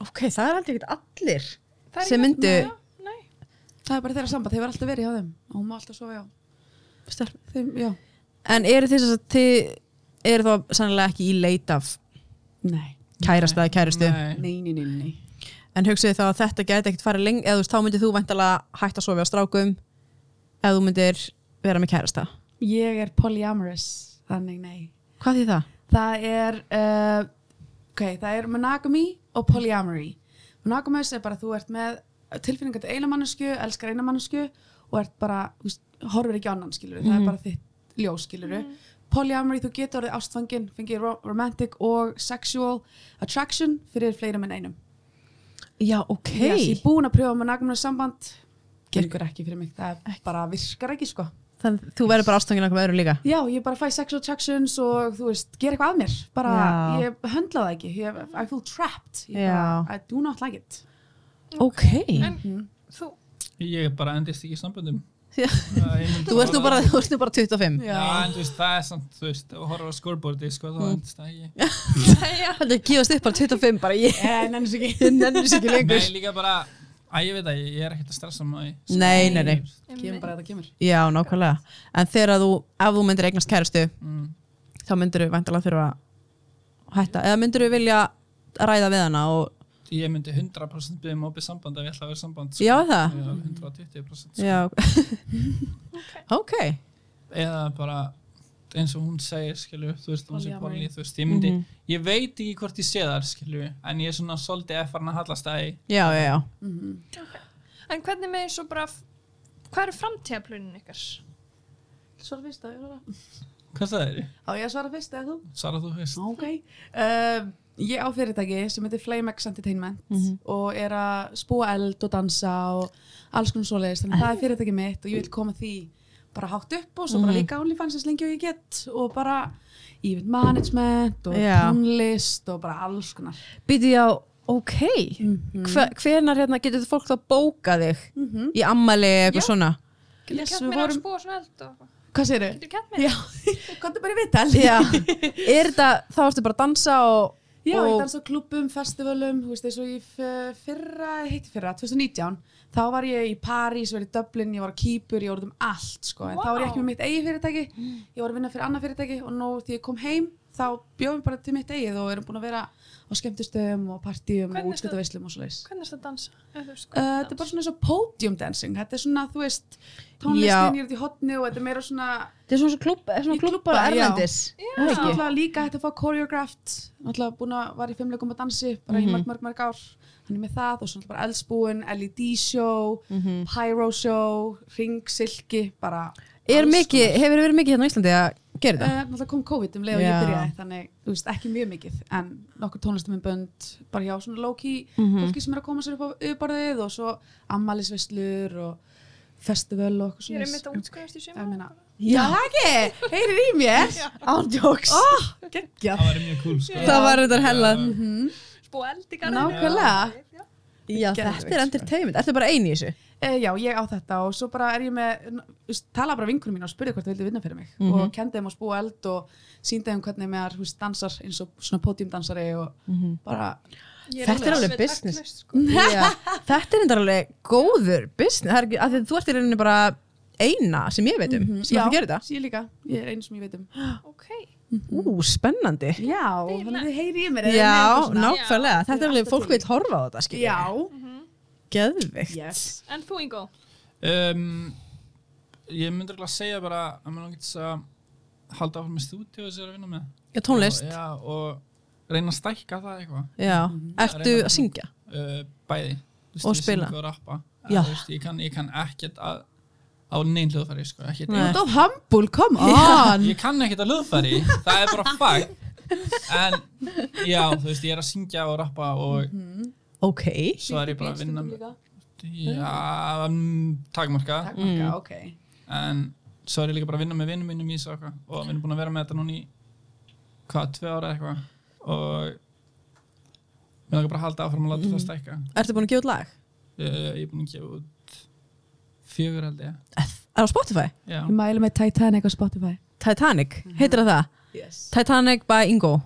B: ok, það er aldrei ekkert allir
A: Það er
B: sem
A: ekki-
B: myndu
A: Já, Nei,
D: það er bara þeirra samband, þeir verða alltaf verið hjá þeim og hún má alltaf sofa hjá
B: stelpum
D: þeim, já,
B: En eru þess að þið eru þá sannlega ekki í leit af
D: nei,
B: kærasta eða kærustu
C: nei,
D: nei, nei, nei, nei.
B: en hugsið þá að þetta gæti ekkert farið lengi eða þú veist, þá myndir þú væntalega hægt að sofa á strákum eða þú myndir vera með kærasta
D: ég er polyamorous þannig nei
B: Hvað því það?
D: Það er, uh, ok, það er monogamy og polyamory. Monogamous er bara að þú ert með tilfinningar til eina mannesku, elskar eina mannesku og ert bara, þú veist, horfir ekki á annan skiluru, það er bara þitt ljós skiluru.
A: Mm. Mhm.
D: Polyamory, þú getur orðið ástfangin, fengið ro romantic og sexual attraction fyrir fleirum en einum.
B: Já, ok
D: Yes, ég er búin að pröfa monogamous samband, gengur ekki fyrir mig, það er bara virkar ekki sko.
B: Þannig þú verður bara ástöngin okkur öðru líka
D: Já, ég bara fæ sexual attractions og þú veist, gera eitthvað að mér bara,
B: Já.
D: ég höndla það ekki ég, I feel trapped ég
B: Já.
D: bara, I do not like it
B: Ok
A: en þú,
C: ég bara endist ekki í samböndum
B: Já.
C: Það- ég myndi
B: Þú ert nú bara,
C: það-
B: þú ert nú bara 25
C: Já, *laughs* en þú veist, það er samt, þú veist, að horfa á scoreboardi, sko,
B: Mm.
C: þá endist það ekki.
A: *laughs* já,
B: Þannig að gefast upp bara 25 bara ég
D: en ennum svo ekki
B: nennir sér ekki lengur
C: Nei, líka bara, að ég veit að ég er ekkert að stressa maður.
B: Nei, nei, nei
D: kemur bara að það kemur
B: Já, nákvæmlega En þegar þú, ef þú myndir eignast kærustu
C: Mm.
B: þá myndir þú vantilega þurfa að hætta eða myndir þú vilja ræða við hana og
C: Ég myndi 100% byggja mópið um samband ef ég ætla að vera í samband, sko.
B: já það
C: Eða 120% sko.
B: já *laughs* ok
C: eða bara eins og hún segir skilju, þú veist, hún segir
D: Polyamory.
C: Polly, þú veist, ég myndi
B: Mhm.
C: ég veit ekki hvort ég sé þar skilju, en ég er svona svolítið effarn að hallast að ég,
B: já já já
A: en hvernig með eins og bara hvað eru framtíðaplunin ykkar?
D: svara fyrst að svara
C: hvað það er?
D: á ég að svara fyrst eða þú?
C: Sara, þú veist
D: ok uh, ég á fyrirtæki sem heitir Flamex Entertainment og er að spúa eld og dansa og alls konar svoleiðis þannig að það er fyrirtæki mitt og ég vil koma því bara hátt upp og svo bara líka OnlyFans eins lengi og ég get og bara event management og
B: Já.
D: tónlist og bara alls konar Mhm.
B: býti já ok Hve- hvenær hérna getur þú fólk þá bókað þig Mm. í ammali eða eitthvað svona
A: Getur
D: Yes,
A: kætt
D: við
A: mér að
D: vorum,
A: spúa svona eld og
D: hvað segir þau?
A: getur kætt mér?
D: Kontu bara í
B: *laughs*
D: viðtal
B: *laughs*
D: *laughs*
B: já er þetta þá ertu bara að dansa og
D: Já, ég
B: og-
D: dansa á klubum, festivalum Þú veist, eins og í f- fyrra, heitti fyrra 2019, þá var ég í París ég var í Dublin, ég var á Kýpur, ég var út um allt sko. en þá var ég ekki með mitt eigi fyrirtæki ég var að vinna fyrir annað fyrirtæki og nú því ég kom heim þá bjóðum við bara til mitt eigið og erum búin að vera á skemmtistöðum og partíum og
A: Hvernig er það-
D: útskjöldaveislum og svoleiðis.
A: Hvernig er þetta að dansa? Eða þú veist,
D: Uh,
A: hvernig
D: þetta er bara svona eins og podium dancing, þetta er svona, þú veist,
B: Já.
D: tónlistin ég er út í hotni og þetta er meira svona,
B: Þetta er svona eins og klúbb- svona
D: Í klúbba,
B: klúbbar
D: já.
B: erlendis
D: þú
B: er
D: veist,
B: ekki?
D: náttúrulega líka hægt að fá choreographed, náttúrulega búin að var í fimmleikum að dansi bara í mörg, mörg, mörg ár, hann er með það og svona bara eldsbúin, LED show,
B: Mhm.
D: pyro show, ringsilki, bara
B: Er
D: alls
B: mikið, hefur verið mikið hérna á Íslandi að gera
D: Eh,
B: þetta?
D: Náttúrulega kom COVID um leið og
B: Já.
D: ég byrjaði þannig, þú veist, ekki mjög mikið en nokkur tónlistaminn bönd bara hjá svona low-key
B: Mhm.
D: fólki sem er að koma sér upp á yfirborðið og svo ammælisveslur og festival og eitthvað
A: Ég er
D: svoleiðis.
A: einmitt
D: Um,
A: að útskjöðast í
D: Ég meina,
A: sjöma.
B: Já,
D: ekki, heyrir í mér
B: ándjóks
C: það væri mjög cool sko.
B: Það var þetta hellað
D: Mm-hmm.
A: Spú eld í
D: Nákvæmlega.
A: Já.
B: Já, þetta er
D: Geðveikt, sko.
B: entertainment, ertu bara eini í þessu?
D: e, Já, ég á þetta og svo bara er ég með n- þú veist, tala bara vinkunum mín og spurði hvort það vildi vinna fyrir mig
B: Mhm.
D: og kendi þeim að spúa eld og síndi þeim hvernig mér þú veist, dansar eins og svona podiumdansari og *laughs* bara
A: Ég
B: Þetta er
A: alveg
B: alveg business.
A: taktlaus, sko.
D: Mhm.
B: Já, *laughs* þetta er enda alveg góður business, það er ekki, af því að þú ert í rauninni bara eina sem ég veit um, sem
D: Mm-hmm. Já,
B: það gerir það.
D: ég líka, ég er einu sem ég veit um
A: Ok.
B: Ú,
D: Mm-hmm.
B: spennandi.
D: Já,
A: Fíla.
D: þannig þið heyri í mér eða þið með
B: Já,
D: eitthvað svona.
B: nákvæmlega,
D: Þið
B: þetta er
D: er
B: alveg,
D: alltaf
B: fólk
D: til.
B: vil horfa á þetta, skiljið.
D: Já,
B: Geðvikt.
D: yes
A: En þú, Ingo?
C: um, ég myndi ekki að segja bara að maður getur þess að halda áfram með stúdíu og sér að vinna með
B: Já, tónlist.
C: og, já, og reyna að stækka það eitthvað
B: Já, ertu
C: Reyna-
B: að syngja?
C: uh, bæði Þú veist,
B: Og
C: ég
B: spila.
C: syng og rappa En
B: Já.
C: þú veist, ég, kann, ég kann ekkert að á neinn hljóðfæri sko, ekkert
B: Nei.
D: Út af Humble, come *laughs* on
C: ég kann ekkert að hljóðfæri það er bara fag en já, þú veist, ég er að syngja og rappa og
B: Ok.
C: svo er ég bara að vinna með
D: líka
C: já, um, takmarka
D: Takmarka, ok
C: en svo er ég líka bara að vinna með vinnum mínum í þessu og eitthvað. og við erum búin að vera með þetta núna í hvað, tvei ára eitthvað og mér langar bara að halda áfram að
D: Mhm.
C: láta það stækka
B: Ertu búin að gefa út lag?
C: uh, ég er búin að gefa út fjögur held ég
B: Er á Spotify?
C: já,
D: Ég mælu með Titanic á Spotify
B: Titanic, heitir það það?
D: Yes
B: Titanic by Ingo.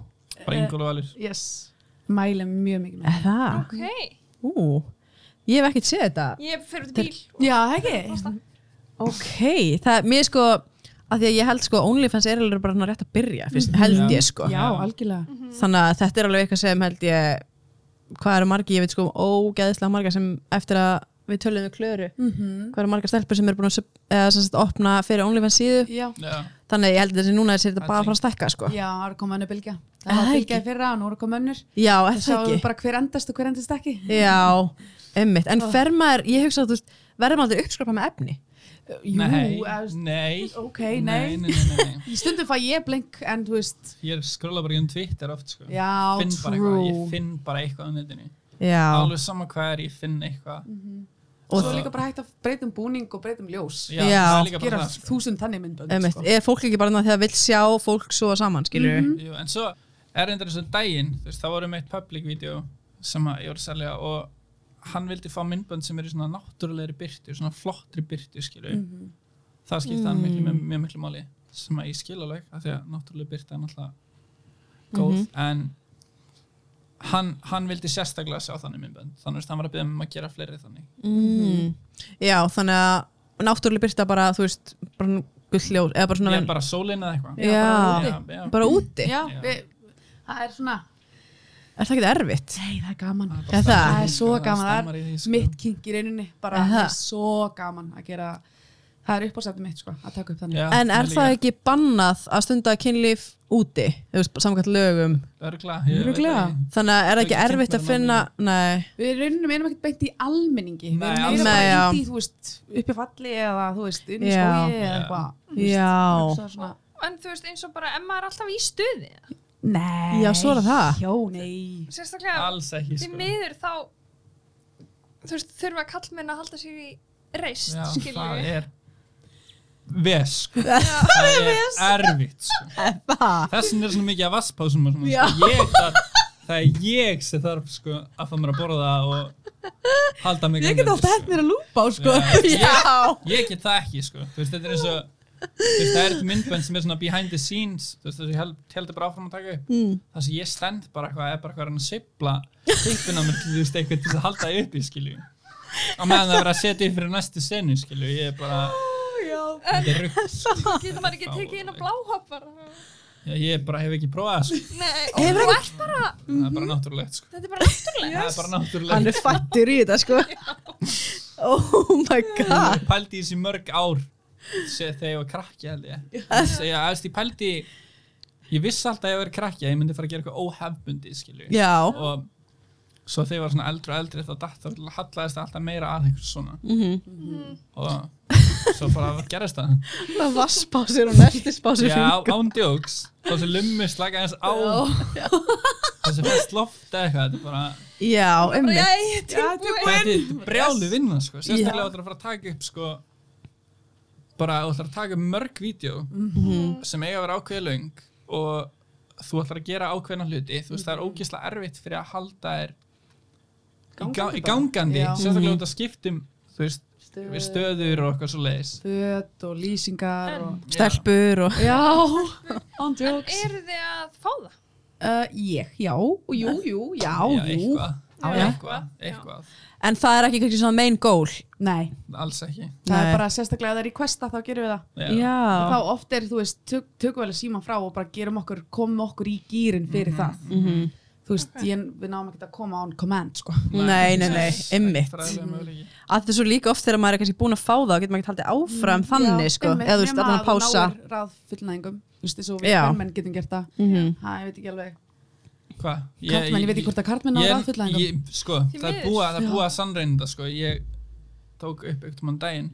C: bara
D: eh,
C: yngol og valir
D: Yes Mælu mjög mikið
B: *laughs*
D: með
B: Er það?
A: Ok.
B: Ú, ég hef ekkert séð þetta.
A: Ég fer út í bíl.
D: Já, ekki
B: Ok, það, mér sko að því að ég held sko að OnlyFans er alveg bara svona rétt að byrja, fyrst, held ég sko
D: Já, algjörlega
B: þannig að þetta er alveg eitthvað sem held ég hvað eru margi, ég veit sko ógeðslega marga sem eftir að við töluðum við klöru
D: Mhm.
B: hvað eru marga stelpur sem eru búin að sub- eða, sem sagt, opna fyrir OnlyFans síðu
D: Já,
C: já,
B: þannig að ég held að þessi núna þessi er þetta bara að fara að stækka sko
D: já, það er komið önnur bylgja
B: Er
D: Það var
B: það
D: bylgja í
B: ekki?
D: fyrra og nú er komið önnur
B: Já, er
D: Það
B: það
D: sjáum
B: ekki
D: bara hver endast og hver endast ekki
B: Já, emmitt, en fer maður ég hugsa að þú veist, verður maður aldrei uppskrapa með efni
D: Jú,
C: nei,
D: eða-
C: nei
D: ok,
C: nei,
D: nei
C: nei, nei, nei.
D: Stundum fæ ég blink en þú veist
C: ég er skrolla bara í um Twitter oft sko.
D: Já,
C: finn bara eitthvað, ég
D: true
C: finn bara eitthvað á netinu
B: Já,
C: alveg sama hvað er, ég finn eitthvað
D: Mhm. Og
B: og
D: svo líka bara hægt að breyta um búning og breyta um ljós
C: já,
B: Já.
C: það er líka bara
D: gera
C: það sko.
D: þúsund þannig myndbönd sko.
B: emmitt, er fólk ekki bara þannig að það vil sjá fólk svo saman, skilur
C: Jú, en svo er endur eins og um daginn þú veist, það voru með eitt public video sem að ég voru að selja og hann vildi fá myndbönd sem eru í svona náttúrulegri byrtu svona flottri byrtu skilu
B: Mm.
D: Mhm.
C: það skipti hann miklu, mjög, mjög miklu máli sem að ég skil alveg af því að náttúruleg byrta er náttúrulega góð
B: Mhm.
C: en hann, hann vildi sérstaklega sjá þannig myndbönd þannig að hann var að byrja um að gera fleiri þannig
B: mm. Já, þannig að náttúrulega byrta bara, þú veist, bara gullljós eða bara svona,
C: ég bara sólin eða eitthvað
B: já, bara,
C: já, já.
B: úti
D: Já,
C: Já.
D: við, það er svona
B: Er það ekki erfitt?
D: Nei, það er gaman
C: Það er bara
B: Er það?
C: stemmar í því,
D: Það er
C: sko,
D: svo gaman,
C: stemmar
D: það
C: í
D: er
C: því, sko.
D: mitt kink í rauninni bara
B: Er
D: það
B: það?
D: er svo gaman að gera það er uppásættu mitt sko, að taka upp þannig
C: Já,
B: en er
C: mér
B: það
C: líka.
B: ekki bannað að stunda kynlíf úti, þú veist, samkvæmt lögum
C: Örugglega, ég veit
D: Örugglega.
C: það ekki.
B: þannig að er það ekki
C: Ekki
B: erfitt að
C: kynnt
B: finna
C: mér
B: nei,
D: Við í rauninni við erum ekkert beint í almenningi
C: Nei,
D: Við
C: alls
D: erum meira
B: ekki.
D: bara
B: Nei,
D: í, þú veist, upp í falli eða, þú veist, inn í
B: Já.
D: skói eða
C: Já.
D: eitthvað
B: já,
D: Hugsa svona,
A: En þú veist, eins og bara, en maður er alltaf í stuði.
D: Nei,
B: Já, svo er það.
D: Já, nei
A: Sérstaklega,
C: alls ekki
A: því
C: sko.
A: miður þá, þú veist, þurfa kallmenn að halda sér í reist,
C: Já,
A: skiljum
C: það
A: við.
C: er ves sko. það er erfitt sko.
B: það
C: þessin er svona mikið af vasspásum og svona,
B: Já.
C: sko. ég, það, það er ég sem þarf sko, að fá mér að borða og halda mig
B: ég get
C: gangandi,
B: alltaf
C: sko.
B: hægt mér að lúpa á sko
C: Já.
B: já,
C: ég get það ekki sko. Þú veist, þetta er eins og þú veist, það er eitt myndbönd sem er svona behind the scenes þú veist, þessi held, heldur bara áfram að taka upp mm. það sem ég stend bara eitthvað er bara eitthvað að reyna að sipla tippina mér til þú veist eitthvað til þess að halda það upp í skilju á meðan það er að setja upp fyrir næstu senu skilju ég er bara þetta er rugg
A: Getur maður ekki tekið inn á bláhopp bara?
C: Já, ég bara hef ekki prófað það, sko.
A: Nei,
B: Hefur
A: þú ert bara,
C: það er bara náttúrulegt sko.
A: þetta er bara náttúrulega.
C: það er bara
B: hann
C: náttúrulegt
B: er fattur í þetta sko *laughs* oh my god
C: ég pældi í þessi mörg ár se- þegar ég var krakki held ég segja, aðeins, ég pældi ég vissi alltaf að ég verið krakki að ég myndi fara að gera eitthvað óhefbundi skilju
B: já,
C: og svo þegar ég var svona eldri og eldri þá datt þá hallaðist það alltaf meira að eitthvað svona og svo bara gerist það
B: það var spásir og næsti spásir
C: já, ándjóks þá sem lummi slaka eins á þessi fyrst loft eða eitthvað þetta er bara
B: já,
A: Bara,
B: einmitt
A: Jæja, ég er tilbúin.
C: þetta er brjálu vinna sko. sérstaklega ætlar að fara að taka upp sko, bara ætlar að taka upp mörg vídeo
D: Mhm.
C: sem eiga að vera ákveði löng og þú ætlar að gera ákveðna hluti þú veist það
D: Mhm.
C: er ógeðslega erfitt fyrir að halda þér gangandi,
D: Gangandi
C: ga gangandi
D: bara. Já. Mhm.
C: sérstaklega út að skiptum þú veist,
D: Stöð,
C: við stöður og eitthvað svo leiðis
D: föt og lýsingar og...
B: stelpur og
D: Já,
A: En
D: ándjóks
A: eru þið að fá það?
D: uh, Ég, já, og jú, jú, já,
C: já,
D: jú
C: eitthvað,
A: Já, já.
C: eitthvað, eitthvað.
B: en það er ekki kannski svona main goal
D: Nei,
C: alls ekki
D: það
B: Nei.
D: er bara sérstaklega að það er í questa þá gerum við það
B: já,
D: þá oft er, þú veist, tök, tökum við alveg síman frá og bara gerum okkur, komum okkur í gýrin fyrir það
B: Mhm.
D: þú veist, ég, við náum ekki að koma on command sko.
B: nei, nei, nei, einmitt að
C: Fræðilega möguleiki.
B: þetta er svo líka oft þegar maður er kannski búin að fá það og getur maður ekki haldið áfram þannig
D: Mhm. Mm, Já,
B: sko,
D: einmitt,
B: eða þú veist,
D: nema
B: allan að pása
D: náir ráð fullnæðingum, þú veist, þessu við
B: Já.
D: karlmenn getum gert það
B: Mhm.
D: ha, ég veit ekki alveg,
C: Hvað?
D: karlmenn, ég veit ekki hvort að karlmenn á ráð
C: ég,
D: fullnæðingum
C: ég, sko,
A: Því
C: það er
A: miður.
C: búið að, búa að sannreina þetta sko. ég tók upp eitt mann daginn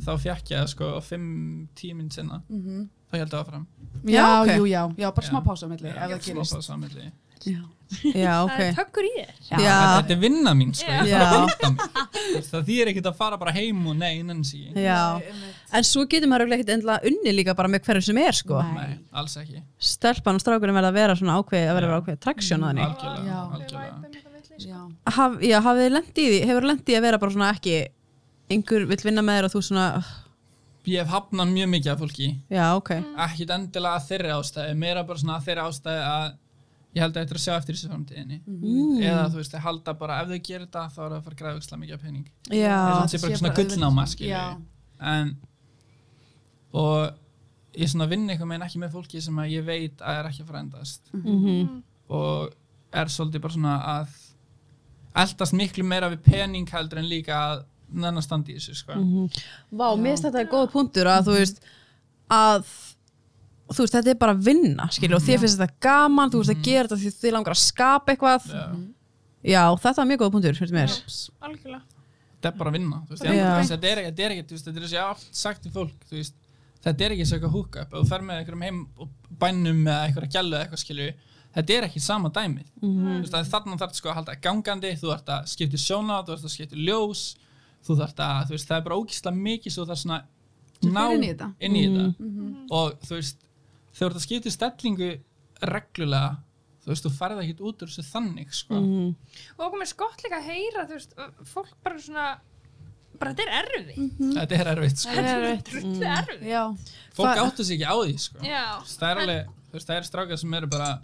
C: þá fekk ég það sko á 5-10 minn sinna
D: Mhm.
C: þá held það áfram
D: já,
B: Já, ok.
D: jú, já, já, bara
C: Já.
D: smá pása á milli, ef það
C: Smá
D: gerist
C: pása á milli.
D: já.
B: já, ok
A: Það er tökur í þér.
B: Já.
C: þetta þetta er vinna mín sko. ég
B: Já.
C: þarf að vinna mig það þýr ekkert að fara bara heim og nei, nenni sig ekki.
B: Já, en svo getur maður auðvitað ekkert endilega unni líka bara með hverjum sem er sko
D: Nei.
C: nei, alls ekki
B: stelpan og strákurinn verða að vera svona ákveð að vera að vera ákveð traksjón að henni
C: algjörlega,
D: Já.
C: algjörlega.
D: já,
B: Haf, Já, hafið þið lendið í því, hefur lendið í að vera bara svona ekki einhver vill vinna með þér og þú svona "Ugh,
C: ég hef hafnað mjög mikið af fólki
B: Já, ok,
C: ekkit endilega að þeirri ástæði meira bara svona að þeirri ástæði að ég held að þetta er að sjá eftir þessu framtíðinni
B: Mm.
C: eða þú veist, þeir halda bara ef þau gerir þetta þá er það að fara að græða auksla mikið af pening
B: já
C: Ég samt sé bara svona gullnáma, skilur
D: já,
C: við. en og ég svona vinn einhvern veginn ekki með fólki sem að ég veit að er ekki að fara að endast
A: Mm.
B: Mhm.
C: og er svolítið bara svona að eldast miklu meira við pening heldur en líka að nennan standi í þessu sko.
B: Vá, mér finnst þetta er góð punktur að þú veist að þú veist, þetta er bara að vinna skilur, og þér finnst þetta gaman, þú veist að gera þetta því þið langar að skapa eitthvað
C: Já.
B: Já, þetta er mjög góð punktur, fyrir mér
A: Algjörlega.
C: þetta er bara að vinna þú veist,
B: Já.
C: ég, þú veist, þetta er ekki, þetta er ekki þú veist, þetta er þessi aft sagt til fólk þú veist, þetta er ekki þessi húka upp þú fer með einhverjum heim og bænum eða einhverja gælu eða eitthvað skilju þetta er ekki sama dæmið
D: Mhm.
C: mm -hmm. þarna þarf sko að halda gangandi þú þarf að skipta í sjóna, þú þarf að skipta í ljós þú þarf að, þú veist, það er bara ógislega mikið svo það er svona
D: Þú
C: ná
D: fer inn í þetta. Mhm.
C: inn í þetta
B: Mm.
C: og þú veist, þegar þú ert að skipta í stellingu reglulega þú veist, þú farið ekkert út úr þessu þannig sko.
D: Mhm.
A: Og okkur með skott líka að heyra, þú veist, fólk bara svona, bara þetta er erfið.
C: Mm, þetta er erfitt sko.
D: Það er erfitt.
A: Drullu erfið.
D: já,
B: Það-
C: fólk áttu sig ekki á því sko.
A: Já.
C: það er alveg, þú veist, það eru strákar sem eru bara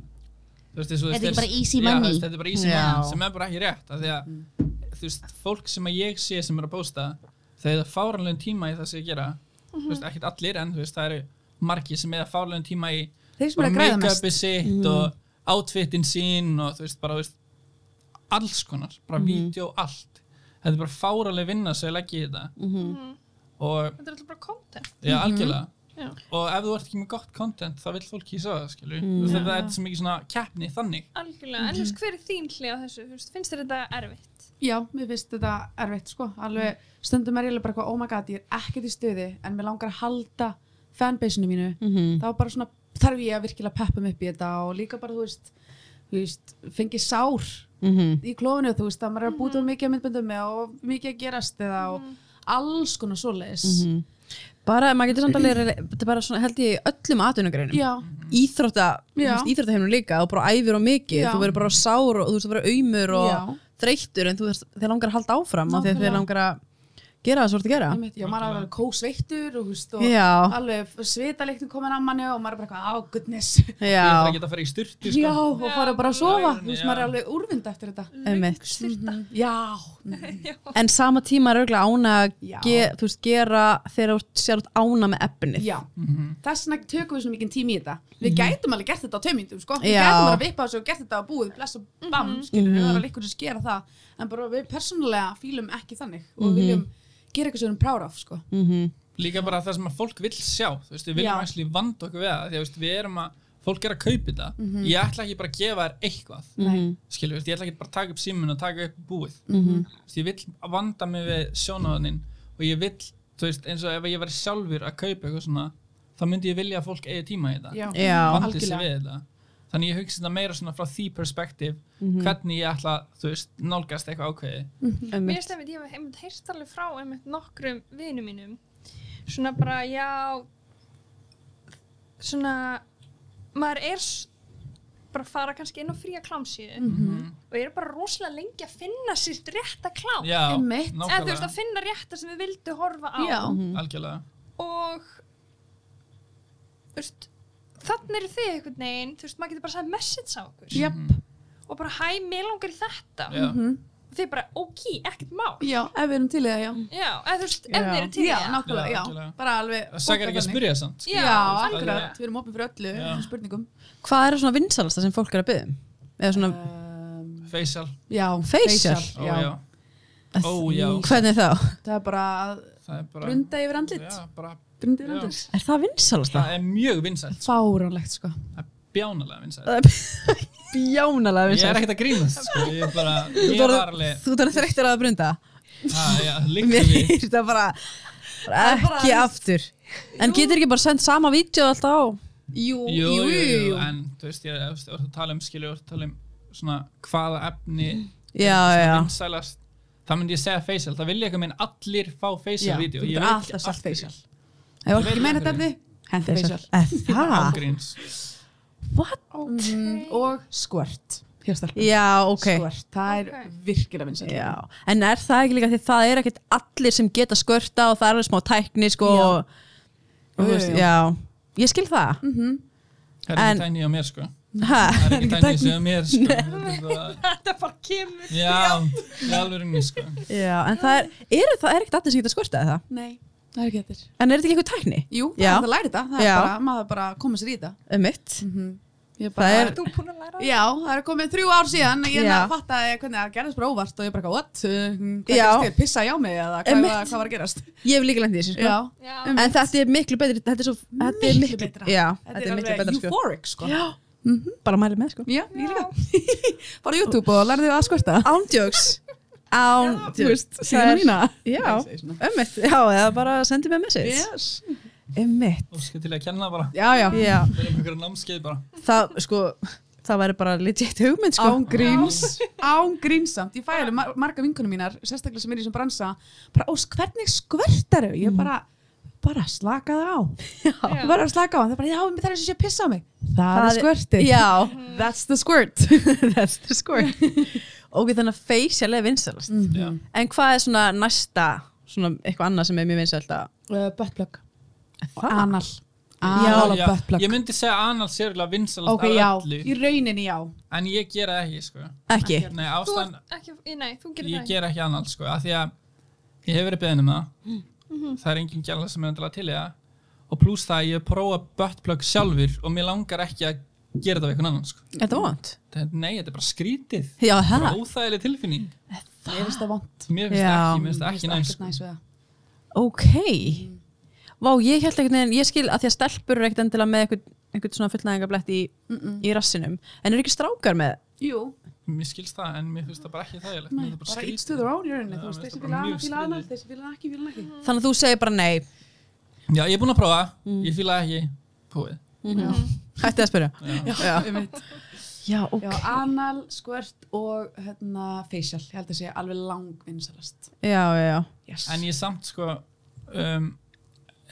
C: þú veist, eins og
E: Þetta er
C: þeir-
E: ekki bara easy
C: Já,
E: money.
C: þú veist, þetta er bara easy
B: Já.
C: money sem er bara ekki rétt af því að, þú veist, fólk sem að ég sé sem eru að pósta, þau eru fáranlegum tíma í það sem ég gera, þú
E: Mhm.
C: veist, ekkert allir en þú veist, það eru margir sem eru fáranlegum tíma í
D: þeir sem
C: bara
D: er að græða mest
C: make-upið sitt og outfitin sín og þú veist, bara, þú veist alls konar, bara mm vídeo, allt þetta er bara fáranleg vinna sem ég legg í þetta
E: Mhm.
C: og
A: Þetta er alltaf bara content.
C: Já, algjörlega.
A: Já.
C: Og ef þú ert ekki með gott content, þá vill fólk kýsa það, skilju. Mm. Þetta er svo mikið svona keppni þannig.
A: Algjörlega. En þú veist, hver er þín hlið á þessu? Þú veist, finnst þér þetta erfitt?
D: Já, mér finnst þetta erfitt sko alveg, stundum er ég alveg bara eitthvað, oh my god, ég er ekkert í stöði en mér langar að halda fanbase-inu mínu þá bara svona þarf ég að virkilega peppa mig upp í þetta og líka bara, þú veist, þú veist fengi sár í klófinu, þú veist, að maður er að
C: Mhm.
D: búta mm mikið að myndböndum með og mikið að gerast eða og alls konar svoleiðis
B: Mhm. Bara, maður getur samt alveg þetta er bara svona, held ég, í öllum atvinnugreinum
D: Já,
B: íþrótta,
D: Já.
B: íþróttaheimnum líka og bara æfir og mikið,
D: Já.
B: þú verður bara sár og þú veist að vera auðmur og
D: Já.
B: þreyttur en þú veist, þeir langar að halda áfram af því að þeir
D: Nákvæmlega.
B: langar að gera það svo ertu að gera
D: Einmitt, Já, maður er alveg kósveittur og, þú veist, og
B: Já.
D: alveg svitaleiknum komin að manni og maður er bara eitthvað, á, goodness.
C: Ég þarf
B: já,
C: ekki að fara í styrtu
D: Já,
C: sko.
D: og fara bara að
C: Já,
D: sofa.
C: já. Mhm.
D: Þú veist, maður er alveg úrvind eftir þetta.
B: einmitt
A: styrta *laughs*
D: Já, mm,
B: en sama tíma er auðvitað ána að
D: Já.
B: ge, þú veist, gera þegar þú sér út ána með efnið
D: já.
C: Mhm.
D: Þess vegna tökum við svona mikið tími í þetta. Við gætum alveg gert þetta á tveimindum, sko. Við
B: Já.
D: gætum bara að vippa þessu og gert þetta á búið, bless og bam, skilur við, það er alveg ykkur sem skera það. En bara við persónulega fýlum ekki þannig og viljum gera eitthvað sem við erum proud of, sko.
C: Líka bara það sem að fólk vill sjá þú veist, Við viljum
D: Já.
C: actually vanda okkur við það því að, þú veist, Við erum að, fólk er að kaupi það Ég ætla ekki bara að gefa þér eitthvað
B: Mhm.
D: Nei.
C: Skilur, veist, ég ætla ekki bara að taka upp símun og taka upp búið mm -hmm. Ég vill vanda mig við sjónáðaninn og ég vill, þú veist, eins og ef ég verið sjálfur að kaupa eitthvað svona þá myndi ég vilja að fólk eigi tíma í það
D: Já.
B: Já.
C: vandi sig
D: algjörlega.
C: við þetta þannig ég hugsi þetta meira svona frá því perspektíf hvernig ég ætla, þú veist, nálgast eitthvað ákveði
A: Mér
B: einmitt.
A: finnst einmitt, ég hef einmitt heyrt alveg frá einmitt nokkrum vinum mínum svona bara, já svona maður er s- bara að fara kannski inn á fría klámsíðu
C: Mm.
A: og ég er bara rosalega lengi að finna sér rétta klám
C: Já,
D: Einmitt.
A: en þú veist að
C: nákvæmlega,
A: finna rétta sem við vildu horfa á
D: Já. Mhm.
C: algjörlega
A: og þú veist, þannig eru þið einhvern veginn, þú veist, maður getur bara að segja message á okkur
D: Jöp.
A: og bara hæ, mér langar í þetta
C: Já,
A: og þið bara, ok, ekkert má
D: Já, ef við erum til í það, já.
A: já, eða þú veist,
B: Já.
A: ef þið eru til í
D: já,
A: það.
D: nákvæmlega,
C: Já,
D: já,
C: algjörlega.
D: bara alveg
C: það sakar ekki að spyrja samt
A: Já,
D: já,
A: algjörlega.
D: akkurat, við erum opið fyrir öllu
C: Já.
D: þessum spurningum
B: hvað er svona vinsalasta sem fólk er að byggja eða svona,
D: um,
C: Facial,
D: já,
B: Facial?
C: ó
D: já.
C: já, ó já
B: hvernig þá?
D: það er bara að
C: Það er bara
D: brunda yfir andlit
C: Já, bara,
D: brunda yfir
C: Já.
D: andlit,
B: er það vinsalasta?
C: það er mjög vinsælt
D: fáránlegt sko
C: Það er bjánalega vinsælt
B: Það er bjánalega
C: Ég er
B: vinsalasta
C: ekkert að grínast sko. Ég er bara,
B: Þú
C: ég
B: ert
C: var
B: orðin-
C: alveg
B: þú ert þreyttur á að brunda
C: Það, já,
B: mér
C: líktum við
B: er það bara, bara
D: Það er bara-
B: ekki aftur en getur ekki bara sendt sama vídeo alltaf á
D: jú,
C: Jú, jú, jú, en þú veist, ég er að tala um skilur, að tala um svona hvaða efni
B: já, já,
C: vinsælast það myndi ég segja facial, það vilja eitthvað minn allir fá facial
D: já,
C: vídeo
D: þú
C: Ég
D: getur
C: veit
D: alltaf sagt
C: af hverju.
D: facial
B: Ég
D: ef ekki meina þetta efni, hendi facial
B: það?
C: Ángríns.
B: What?
D: Mm, og squirt hérstar,
B: já, ok
D: squirt, það er
A: Ok.
D: virkilega vinsælt
B: já. en er það ekki líka því það er ekkert allir sem geta skvörta og það er alveg smá tækni sko
D: Já.
B: og, og, þú
D: Jú,
B: veist,
D: jú.
B: já, ég skil það
D: Mhm.
C: það er
B: En-
C: ekki tæni á mér sko
B: ha, *laughs*
C: það er ekki tæni sem á mér sko Þetta er bara-
A: *laughs* Þetta bara kemur
C: já, í alvörinni sko
B: já, en það er, er það er ekkert allir sem geta skvörta það
D: nei, það er ekki þetta
B: en er þetta ekki eitthvað tækni?
D: jú, það
B: Já.
D: er hægt að læra þetta, það er
B: Já.
D: bara, maður bara komið sér í þetta
B: um mitt
D: Mm. Mhm. Ég
B: Það er-
A: Þú búin að læra
D: Já, það er komið þrjú ár síðan ég
B: Já.
D: er að fatta hvernig það gerðist bara óvart og ég bara, eitthvað, what? Uh, Hvað
B: Já.
D: gerðist þér? Pissa ég á mig eða hvað,
B: Einmitt.
D: var- hvað var að gerast?
B: ég hef líka lendið þessu sko
D: Já,
A: Já,
D: Einmitt.
B: en þetta er miklu betri þetta er svo þetta er
D: Miklu
B: miklu
D: betra.
B: já,
D: þetta, er
B: miklu
D: alveg
B: betra sko
D: euphoric sko Já,
B: bara mæli með sko
D: ég líka *laughs* Bara á YouTube og lærðu að skvörta
B: *laughs* ándjóks án
D: Þú veist,
B: það
D: síðan
B: er-
D: mína
B: já,
D: Nei, ég segi svona.
B: ömmit já, eða bara sendi mér message
D: Yes
B: ömmit
C: og sko til að kenna bara
D: Já, já,
B: já,
C: það er einhverja námskeið bara
B: það sko það væri bara legit hugmynd sko
D: Án gríns, án grínsamt Ég fæ alveg mar marga vinkunum mínar, sérstaklega sem er í sem bransa bara, ós, hvernig skvörtar
C: Mm.
D: Ég bara, bara slaka það á
A: Já.
D: Ég bara slaka á, það er bara, já, það er eins og sé að pissa á mig Það, er skvörtið
B: já,
D: That's the squirt
B: *laughs* that's the *laughs* squirt ok, þannig að facial er vinsalast
D: Mhm.
C: já.
B: en hvað er svona næsta svona eitthvað annað sem er mjög vinsalt að
D: uh, Buttplug
B: það?
D: Anal
C: Já,
D: Anal og
C: já,
D: buttplug
C: ég myndi segja anal sérlega vinsælast
D: Ok,
C: af
D: já, í
C: öllu
D: rauninni já
C: en ég gera það ekki sko
B: Ah, ekki
C: nei,
A: þú
C: ástæðan,
A: ert ekki, í- nei, þú gerir
C: ég
A: það
C: gera ekki annað sko, af því að ég hef verið beðin um það það er engin gæla sem er endilega til í það og pluss það að ég hef prófað buttplug sjálfur og mér langar ekki að gera það við einhvern annan sko.
B: þetta er vond
C: Þetta- nei, þetta er bara skrítið
B: já, það
C: bara óþægileg tilfinning
D: Mér finnst það vond
C: mér finnst
B: Ah. Já.
C: það ekki, mér finnst það ekki næst
D: Ekkert næs sko. við það
B: Ok Vá, ég held ekkert neginn, ég skil að því að stelpur eru ekkert endilega með eitthvað, eitthvað svona fullnæðingablett í, í rassinum en eru ekki strákar með
D: Jú,
C: mér skilst það, en mér finnst það bara ekki þægilegt mér
D: nei,
C: finnst það bara
D: bara each
C: skrítið
D: to their own í rauninni
C: Já,
D: Þú
C: mér finnst það bara
D: veist, þessi fíla
C: mjög
D: anal, fíla anal,
C: skrýtið.
D: þessi fíla ekki, fíla ekki
B: þannig að þú segir bara nei
C: já, ég er búin að prófa, ég fíla það ekki púið,
A: Mhm.
B: Hætti að spyrja
C: já,
D: einmitt.
B: Mhm. Já, ok
D: Já,
B: Já,
D: anal, skvört og hérna, facial Ég held að sé alveg langvinnsalast
B: já, já,
D: yes.
C: en ég samt sko um,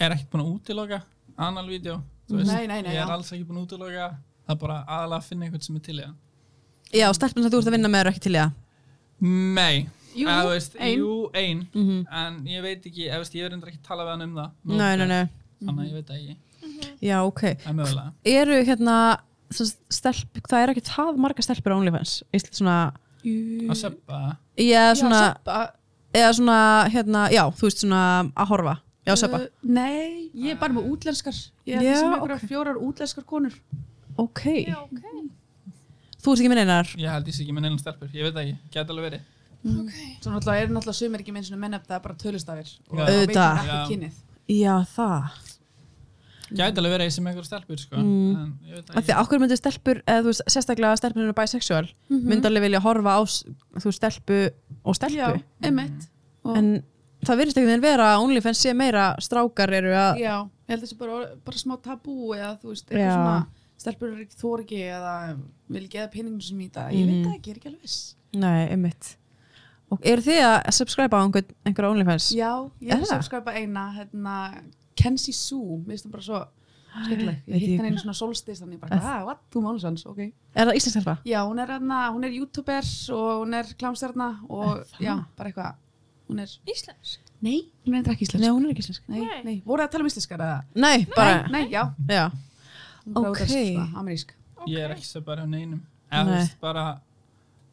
C: er ekki búin að útiloka analvídeó, þú veist
D: Nei, nei, nei,
C: ég er
D: já.
C: alls ekki búin að útiloka það er bara aðalega að finna einhvern sem er til í það
B: já stelpun sem þú ert að vinna með eru ekki til í það
C: Nei,
D: Jú,
C: Eða, þú veist,
D: ein.
C: Jú, ein
B: Mhm.
C: En ég veit ekki, eða, þú veist, ég er endur ekki að tala við hann um það
B: Nei,
C: nú
B: nei,
C: þegar,
B: nei,
C: Þannig að ég veit það ekki,
B: já, ok
C: það er mögulega
B: Eru hérna sem sagt, stelp, það er ekki það marga stelpur á OnlyFans Ísli svona,
C: Að seppa
B: já, svona
D: já, samt að-
B: eða svona, hérna, já, þú veist svona að horfa, já, söpa
D: Uh, Nei, ég er bara með útlenskar Ég er
B: Já,
D: sem einhverja
B: ok.
D: fjórar útlenskar konur
B: ok,
A: Já, ok.
B: þú veist ekki minn einar
C: Ég held ég sé ekki með neinan stelpur, ég veit það ekki, gæti alveg verið
D: Mhm.
A: Ok.
D: Svo náttúrulega er náttúrulega sumir ekki minnst menn upp það er bara tölustafir og
C: Já.
D: það veit
B: Auðvitað.
D: maður ekki
C: Já.
D: kynið
B: já, það,
C: Gæti alveg verið sem einhver stelpur, sko
B: Mm.
C: En ég veit
B: af
C: það
B: því okkur myndir stelpur eða þú veist, sérstaklega stelpur eru bisexual mm
D: Mhm.
B: alveg vilja horfa á, s- þú veist, stelpu og stelpu,
D: Já, einmitt Og-
B: en það virðist ekki þeim vera að OnlyFans sé meira strákar eru að,
D: Já, ég held þessi bara, bara smá tabú eða þú veist, eitthvað
B: Já.
D: svona stelpur er ekki þorgi eða vil ekki eða peningum sem í það, ég veit
B: Mhm.
D: það ekki, ég er ekki alveg viss
B: nei, einmitt og eru þið að subscribe á einhver, einhver OnlyFans?
D: Já, ég
B: Er
D: er að
B: það?
D: subscribe eina hérna, Kenzie Sue, mér finnst það bara svo skemmtileg,
B: veit
D: ég hitt
B: ég-
D: henni einu svona solstist þannig bara, ah, what, þú málusans, ok
B: Er það íslensk stelpa?
D: Já, hún er, hérna, hún er youtuber og hún er klámstjarna og já, bara eitthvað hún er,
A: Íslensk.
D: nei, hún er eitthvað ekki
B: Nei,
D: íslensk
B: hún er ekki íslensk
D: Nei,
A: Nei.
D: nei, voru það að tala um íslenskar eða?
B: Nei, bara,
D: Nei, já,
B: já,
D: hún bara
B: Ok.
D: út af svona, amerísk
A: Ok.
C: Ég er ekki seppar hjá neinum Eða, þú
B: Nei.
C: veist, bara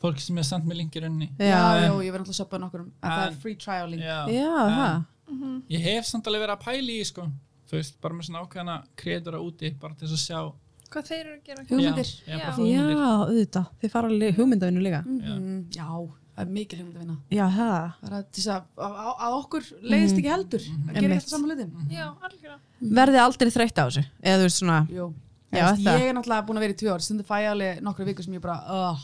C: Fólk sem er samt með linkir unni
B: já,
D: Já,
B: já,
D: já, ég verði alltaf að söpja nokkur um að það er
C: En-
D: free trial link.
C: Já, En
B: það
A: Mhm.
C: Ég hef samt alveg verið að pæla í, því, sko Þú veist, bara með svona ákveðana kreatora úti Bara til þess að sjá
A: Hvað þeir eru að gera?
D: Hugmyndir.
C: Já, ég er bara
A: Já.
B: Já,
C: hugmyndir
B: auðvitað, þið fara alveg hugmyndavinu líka
D: Mhm, Já, það er mikil hugmynd að vinna.
B: Já, það
D: Bara til þess að, að, að okkur leiðist ekki heldur
B: Mm.
D: að gera
B: Einmitt.
D: þetta saman hlutin.
A: Já, algjörlega.
B: Mm. Verðið aldrei þreytt á þessu Eða þú veist svona
D: Jú.
B: Já,
D: Já,
B: það.
D: ég er náttúrulega búin að vera í tvö ár, stundu fæ ég alveg nokkru vikur sem ég bara, oh,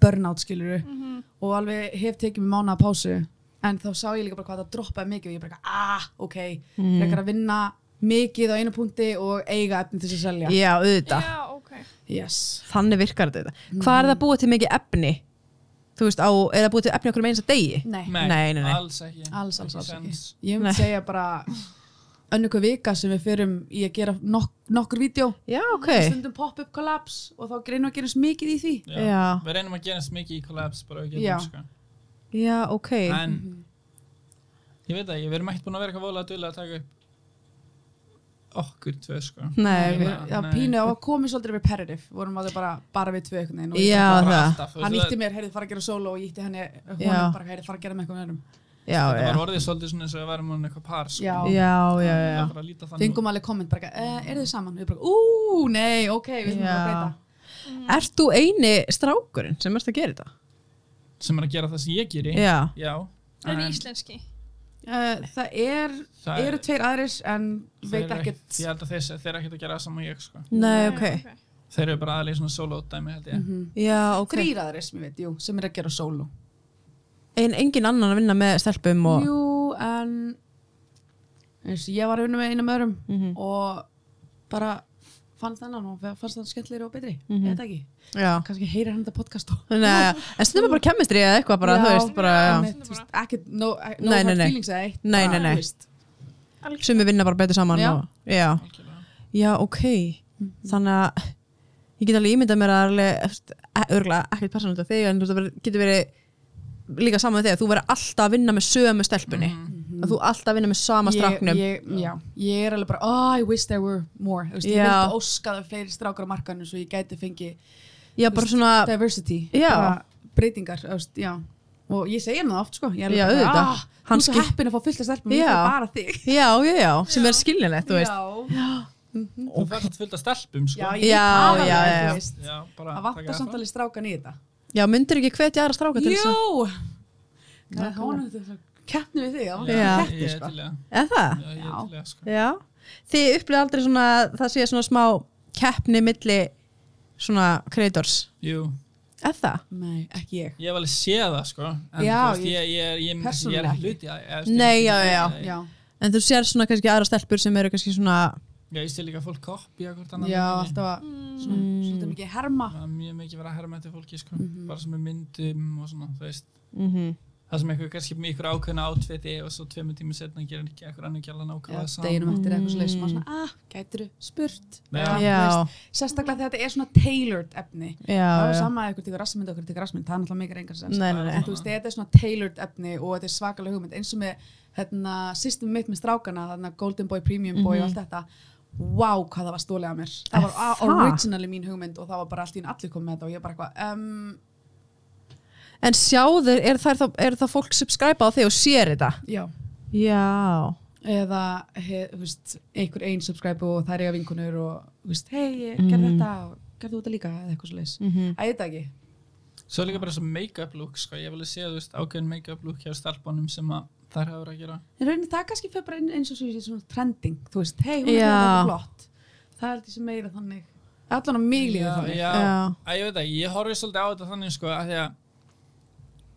D: burnout skilur og alveg hef tekið mér mánuða pásu, en þá sá ég líka bara hvað það droppaði mikið og ég bara, ah, ok, mm. frekar að vinna mikið á einu punkti og eiga efni til þess að selja.
B: Já, Mm. auðvitað
A: Já, ok.
D: Yes.
B: Þannig virkar þetta Hvað er það búið til mikið efni? Þú veist, á, er það búið til efni okkur með einsta degi?
D: Nei.
B: Nei, nei, nei.
C: alls ekki
D: alls, alls, alls
C: Ekki
D: ekki
C: sens.
D: ég myndi segja bara önnu hver vika sem við fyrum í að gera nok nokkur vídeo
B: Já, ok
D: stundum pop-up collabs og þá reynum við að gera eins mikið í því
C: Já.
B: Já.
C: Við reynum að gera eins mikið í collabs bara ef við
D: Já. Mhm.
C: getum sko.
B: Já, ok
C: En Ég veit það ekki, við erum ekkert búin að vera eitthvað volað að duðlega að taka upp okkur tvö sko
B: Nei,
D: Við-
B: við,
C: Já,
D: já,
C: nei.
D: pínu og komið svolítið repetitive vorum að þau bara, bara við tvö einhvern veginn og ég-
B: Já,
C: Bara
B: það.
C: alltaf, þú veist,
D: hann
C: það-
D: ítti mér, heyrðu fara að gera solo og ég ítti henni
B: Já.
D: honum bara, heyrðu fara að gera með eitthvað öðrum
B: já,
C: Það
B: já
C: var orðið svolítið svona eins og við værum hann eitthvað par sko.
D: Já.
B: Já, já,
C: Það
B: já
C: er bara að líta þannig
D: fengum alveg komment bara, eh, er þið saman? við bara, ú, nei, ok, við þurfum að
B: Já.
D: breyta
B: Ert þú eini strákurinn sem ert að gera þetta?
C: út sem er að gera það sem ég geri
B: Já
C: Já.
A: En íslenski.
D: uh, það er,
C: Það er-
D: eru tveir aðrir en
C: þeir
D: veit
C: eru
D: ekkert
C: Ég held að þeir, þeir eru ekkert að gera það saman ég sko
B: Nei, ok
C: Þeir eru bara aðlega í svona solo dæmi held
D: Mhm.
C: ég
B: Já, ok
D: þrýr aðrir sem ég veit, jú, sem er að gera solo
B: En engin annan að vinna með stelpum og
D: Jú, en eins, og ég var að vinna með einum öðrum og bara fann þennan og fannst það skemmtilegri og betri mm -hmm. eða ekki,
B: Já
D: kannski heyrir hann þetta podcast og
B: Nei, en stundum er bara kemistri eða eitthvað bara, þú veist, bara,
A: Já.
B: já.
D: einmitt, þú veist, ekki, no, no
B: Nei,
D: nei,
B: nei, nei.
D: feelings eða eitt
B: Nei,
D: bara,
B: nei, nei.
D: þú veist.
B: Sumi vinna bara betur saman
D: Já.
B: og, já.
C: Algjörlega.
B: já, ok þannig að ég get alveg ímyndað mér að alveg, örgulega ekkert persónult af þig en þú veist, það getur verið líka saman með þig að þú verið alltaf að vinna með sömu stelpunni
C: Mhm.
B: að þú alltaf að vinna með sama stráknum
D: Mhm. ég, ég, já, ég er alveg bara, oh, I wish there were more þú veist, ég
B: Já.
D: vildi óska það fleiri strákar á markanum svo ég gæti fengið
B: já, bara svona,
D: diversity
B: Já.
D: bara breytingar þú veist, já. og ég segja henni það oft sko ég er
B: Já,
D: alveg bara,
B: auðvitað.
D: ah, þú
B: Hann
D: er svo
B: skil-
D: heppin að fá fullt af stelpum
B: Já.
D: ég fæ bara þig
B: já, já, já sem er skiljanlegt, þú veist
D: já,
C: Þú fært að fylgta stelpum sko
D: já,
B: Já,
D: ég tala
B: já,
D: við,
B: já.
D: þú veist.
C: Já, bara taka
D: það vantar
C: það fram.
D: samtalið strákan í þetta
B: já, myndir ekki hvetja aðra stráka til þess að
D: það er honum þetta keppni við þig, það var
B: Já.
D: ekki
C: Ég
D: keppni
C: er
D: sko
C: til í það.
B: eða það,
C: Já, ég er
D: Já.
C: til í það, sko.
B: já þið upplýð aldrei svona, að það sé svona smá keppni milli svona creators,
C: Jú,
B: eða það
D: nei, ekki ég
C: Ég hef alveg séð það sko en
D: Já,
C: þú veist,
D: ég-
C: ég, ég, er- ég, myndi- ég er
D: persónulega
C: ekki
D: ekki.
C: hluti að- eða, þú veist,
B: Nei,
C: ég er
B: já,
C: ekki
B: já,
C: hluti að-
D: já,
B: En þú sér svona kannski aðra stelpur sem eru kannski svona
C: Já, ég sé líka fólk kopja hvort annan
D: já alltaf að svona-
B: Mm.
D: svolítið mikið herma Mhm.
C: Það er mjög mikið verið að herma eftir fólki sko bara sem er myndum og svona, þú veist
B: mm -hmm.
C: það sem eitthvað kannski með ykkur ákveðna átfitti og svo tveimur tímur setna gerir hann ekki eitthvað annar gæla
D: Já,
C: nákvæmlega saman
D: deginum eftir eitthvað svo leiðis maður
B: Mm.
D: svona, ah, gætiru, spurt
C: Já.
D: Þú veist, sérstaklega þegar þetta er svona tailored efni það
B: já,
D: er
B: já.
D: sama að ykkur tekur rassmynd og ykkur tekur rassmynd, það er náttúrulega mikið reyngar sens
B: Nei, nei, nei.
D: En þú veist, þetta er svona tailored efni og þetta er svakalega hugmynd eins og með hérna, system mitt með strákana þarna Golden Boy, Premium Boy og allt þetta wow, hvað það var stólið að mér það
B: Er
D: var a-
B: Mhm. það?
D: originally mín hugmynd og það var bara allt í enn allir komið með þetta og ég bara eitthvað um,
B: En sjáðu, er það, er það fólk subscribe á þig og sér þetta?
D: já,
B: Já.
D: eða he, þú veist, einhver ein subscribe og það er eiga vinkunur og þú veist, hei,
B: Mhm.
D: gerð þetta og gerðu þetta líka eða eitthvað svo leiðis
B: Mm -hmm.
D: Æ, ég veit það ekki,
C: Svo er líka bara þessi make-up look sko. ég vil að þú veist, ákveðin make-up look hjá starfbónum sem að þær hafa verið að gera
D: En raunin það kannski fyrir bara inn eins og svo ég sé svona trending, þú veist, hei, hún
B: Já.
D: er að gera þetta flott. Það er þessi meira þannig. Allan á mig líður
C: já,
D: þannig.
C: já.
B: Já.
C: Æ, ég veit ekki, ég horfði svolítið á þetta þannig sko, að því að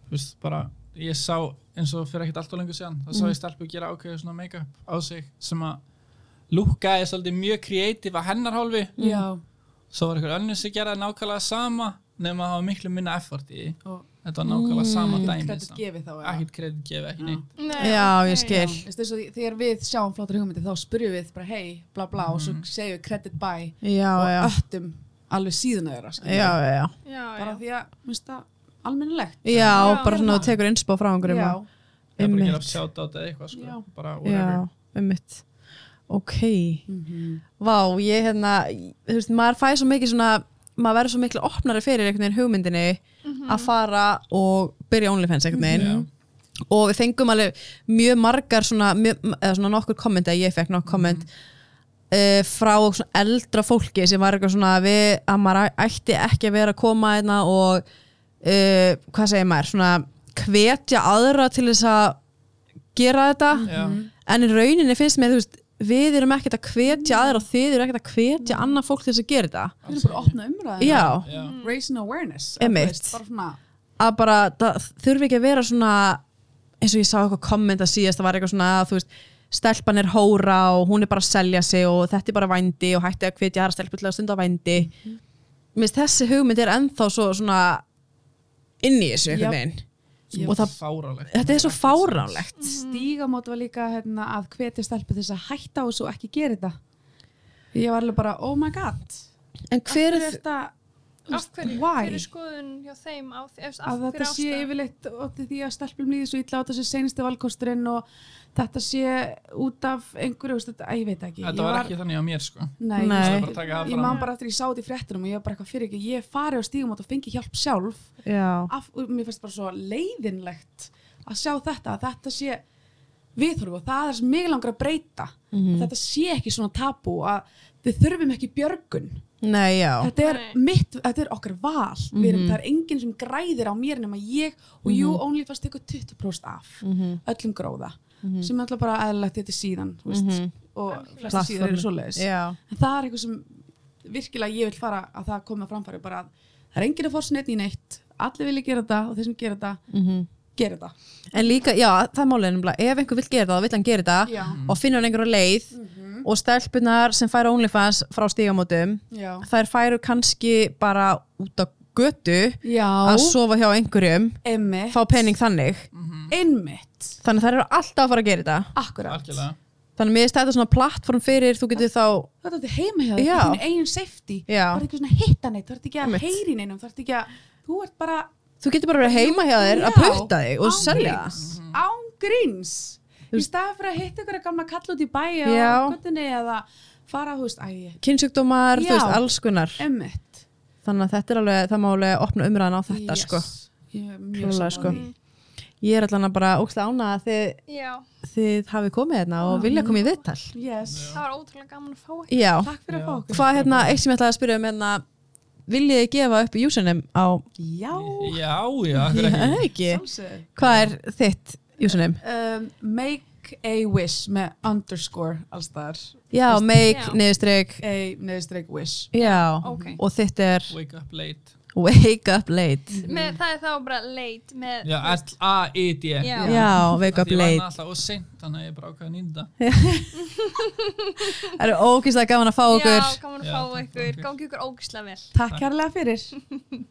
C: þú veist, bara, ég sá eins og fyrir ekkert allt og lengur síðan, þá sá ég stelpu gera ákveðið svona make-up á sig sem að lúkkaði svolítið mjög kreatíf að hennar hálfi,
D: Já.
C: Mm. svo var einhver önnur sem geraði nákvæmlega sama, nema að það var miklu minna effort í, því.
D: Og
C: þetta var nákvæmlega sama
D: ekkert
C: dæmi,
D: kredit gefið þá. eða?
C: ekkert kredit gefið, ekki
D: Já.
C: neitt
A: Nei,
B: Já,
A: ok.
B: ég skil.
D: Þú veist, eins og þegar við sjáum flottar hugmyndir þá spurjum við bara hei, bla bla og
C: Mhm.
D: svo segjum við credit by
B: Já,
D: og
B: já.
D: öttum alveg síðan að vera.
B: Já, já, já.
A: Já,
D: Bara
A: já.
D: því að, þú veist það, almennilegt.
B: Já,
A: Já,
B: bara svona
A: hérna.
B: þú tekur innspá frá einhverjum.
D: Já,
B: og-
C: það er bara að gera
B: Einmitt.
C: sjátt á þetta eitthvað sko,
D: Já.
C: bara
B: já
C: whatever
B: ummitt. Ok.
D: Mhm.
B: Vá, ég hérna, þú veist, maður fæði svo mikið svona, maður verður svo miklu opnari fyrir einhvern veginn hugmyndinni að fara og byrja OnlyFans einhvern veginn
C: Já.
B: og við fengum alveg mjög margar svona, mjög, eða svona nokkur komment, eða ég fekk nokkur komment uh, frá svona eldra fólki sem var eitthvað svona að við, að maður ætti ekki að vera að koma einna og uh, hvað segir maður, svona hvetja aðra til þess að gera þetta
C: Já.
B: en í rauninni finnst mér, þú veist við erum ekkert að hvetja aðra og þið eru ekkert að hvetja annað fólk til þess að gera þetta
D: Við erum bara að opna umræðina.
B: já,
C: Já.
A: Mhm.
D: Raising awareness. að þú
B: Einmitt.
D: veist, Bara svona,
B: að bara það þurfi ekki að vera svona eins og ég sá eitthvað komment að síðast það var eitthvað svona, þú veist, stelpan er hóra og hún er bara að selja sig og þetta er bara vændi og hætti að hvetja aðra stelpu til að stunda á vændi mm -hmm. þessi hugmynd er ennþá svo svona inn í þessu
D: Jáp.
B: einhvern veginn
C: Sem
B: Og það-
C: fáránlegt.
B: þetta er svo fáránlegt
D: Mhm.
A: Mhm.
D: stígamót var líka hérna, að hvetja stelpu til þess að hætta og svo ekki gera þetta ég var alveg bara, oh my god
B: en hver
D: er þetta
A: Af hverju,
D: why?
A: hver er
C: sko-
A: skoðun hjá þeim á því, eftir, af
D: að
A: hverju
D: þetta sé
A: ástæða?
D: yfirleitt ótti því að stelpum líði svo illa á þessu seinasti valkosturinn og þetta sé út af einhverju, veist, þetta, að ég veit ekki
C: Þetta
D: ég
C: var ekki þannig á mér sko
D: Nei,
B: Nei.
D: ég-
C: Það er bara að taka það
D: ég
C: fram.
D: man bara eftir ég sá þetta í fréttunum og ég var bara eitthvað fyrir ekki, ég fari á stígamót og fengi hjálp sjálf
B: já,
D: af, og mér finnst bara svo leiðinlegt að sjá þetta, að þetta sé viðhorf og það er sem mig langar að breyta
B: Mhm. Mm.
D: að þetta sé ekki svona tabú að við þurfum ekki björgun
B: nei já Mhm.
D: þetta er
A: Nei.
D: mitt, þetta er okkar val mm erum, það er enginn sem græðir á mér nema ég og jú, OnlyFans tekur 20% af
B: Mhm.
D: öllum gróða sem er alltaf bara aðlægt þetta er síðan þú veist, og flesta síðan eru svoleiðis
B: Mhm. já,
D: en það er eitthvað sem virkilega ég vil fara að það koma framfæri bara að það er enginn að fórsin einn í neitt allir vilja gera þetta og þeir sem gera þetta gera þetta
B: En líka, já, það er málið nefnilega, ef einhver vill gera það, þá vill hann gera það
D: Já. Mhm.
B: og finnur hann einhverju leið og stelpunar sem færa OnlyFans frá stígamótum,
D: já,
B: þær færu kannski bara út á götu
D: já
B: að sofa hjá einhverjum,
D: einmitt,
B: fá pening þannig.
D: einmitt
B: Þannig þær eru alltaf að fara að gera þetta.
D: akkurat
C: Algjörlega
B: Þannig mér er þetta svona plattform fyrir, þú getur þá,
D: það er þetta heima hjá þér,
B: Já.
D: þín eigin safety
B: Já.
D: það er ekki svona hitta neitt, það er ekki
B: Einmitt.
D: að heyri neinum það er ekki að, þú ert bara
B: þú getur bara að vera heima hjá þér að
D: Já.
B: putta þig og
D: Án
B: selja það.
D: gríns, án gríns í staði fyrir að hitta ykkur að gamla kalla út í bæja
B: Já.
D: og gottinni eða fara, þú veist, æg,
B: Kynsjúkdómar, þú
D: Já.
B: veist, alls kunnar.
D: emmitt
B: Þannig að þetta er alveg, það má alveg opna umræðan á þetta, sko.
D: ég er mjög
B: Klárlega,
D: sammála
B: sko.
D: því.
B: Ég er allan að bara ókslega ána að þið
A: Já,
B: þið hafið komið hérna og vilja komið í viðtal
D: yes.
A: það var ótrúlega gaman að fá ekki.
B: Já,
D: takk fyrir
C: Já.
D: að fá okkur
B: hvað hérna, eitt sem ég ætlaði að spyrja um hérna viljið þið gefa upp í username á
D: já,
C: Já, já,
B: Já,
C: akkur ekki
B: ekki,
D: sjálfsög
B: hvað er þitt username?
D: um, make a wish með underscore allstaðar
B: Já, make,
A: Já.
B: niðurstrygg
D: a neðstreik wish
B: Já,
A: Ok.
B: og þitt er *laughs*
C: Wake up late
B: wake up late
A: Með, það er þá bara leit með,
C: Já, L-A-I-D
A: Já.
B: Já,
C: E. Því
B: wake up
C: ég vann
B: late
C: alltaf og seint Þannig að ég bara ákveða að nýnda
B: Það eru ókýrslega gaman að fá
A: já,
B: okkur
A: gaman að fá
C: Já, takk
A: ykkur,
C: fyrir.
A: gangi ykkur ógislega vel.
D: takk kærlega fyrir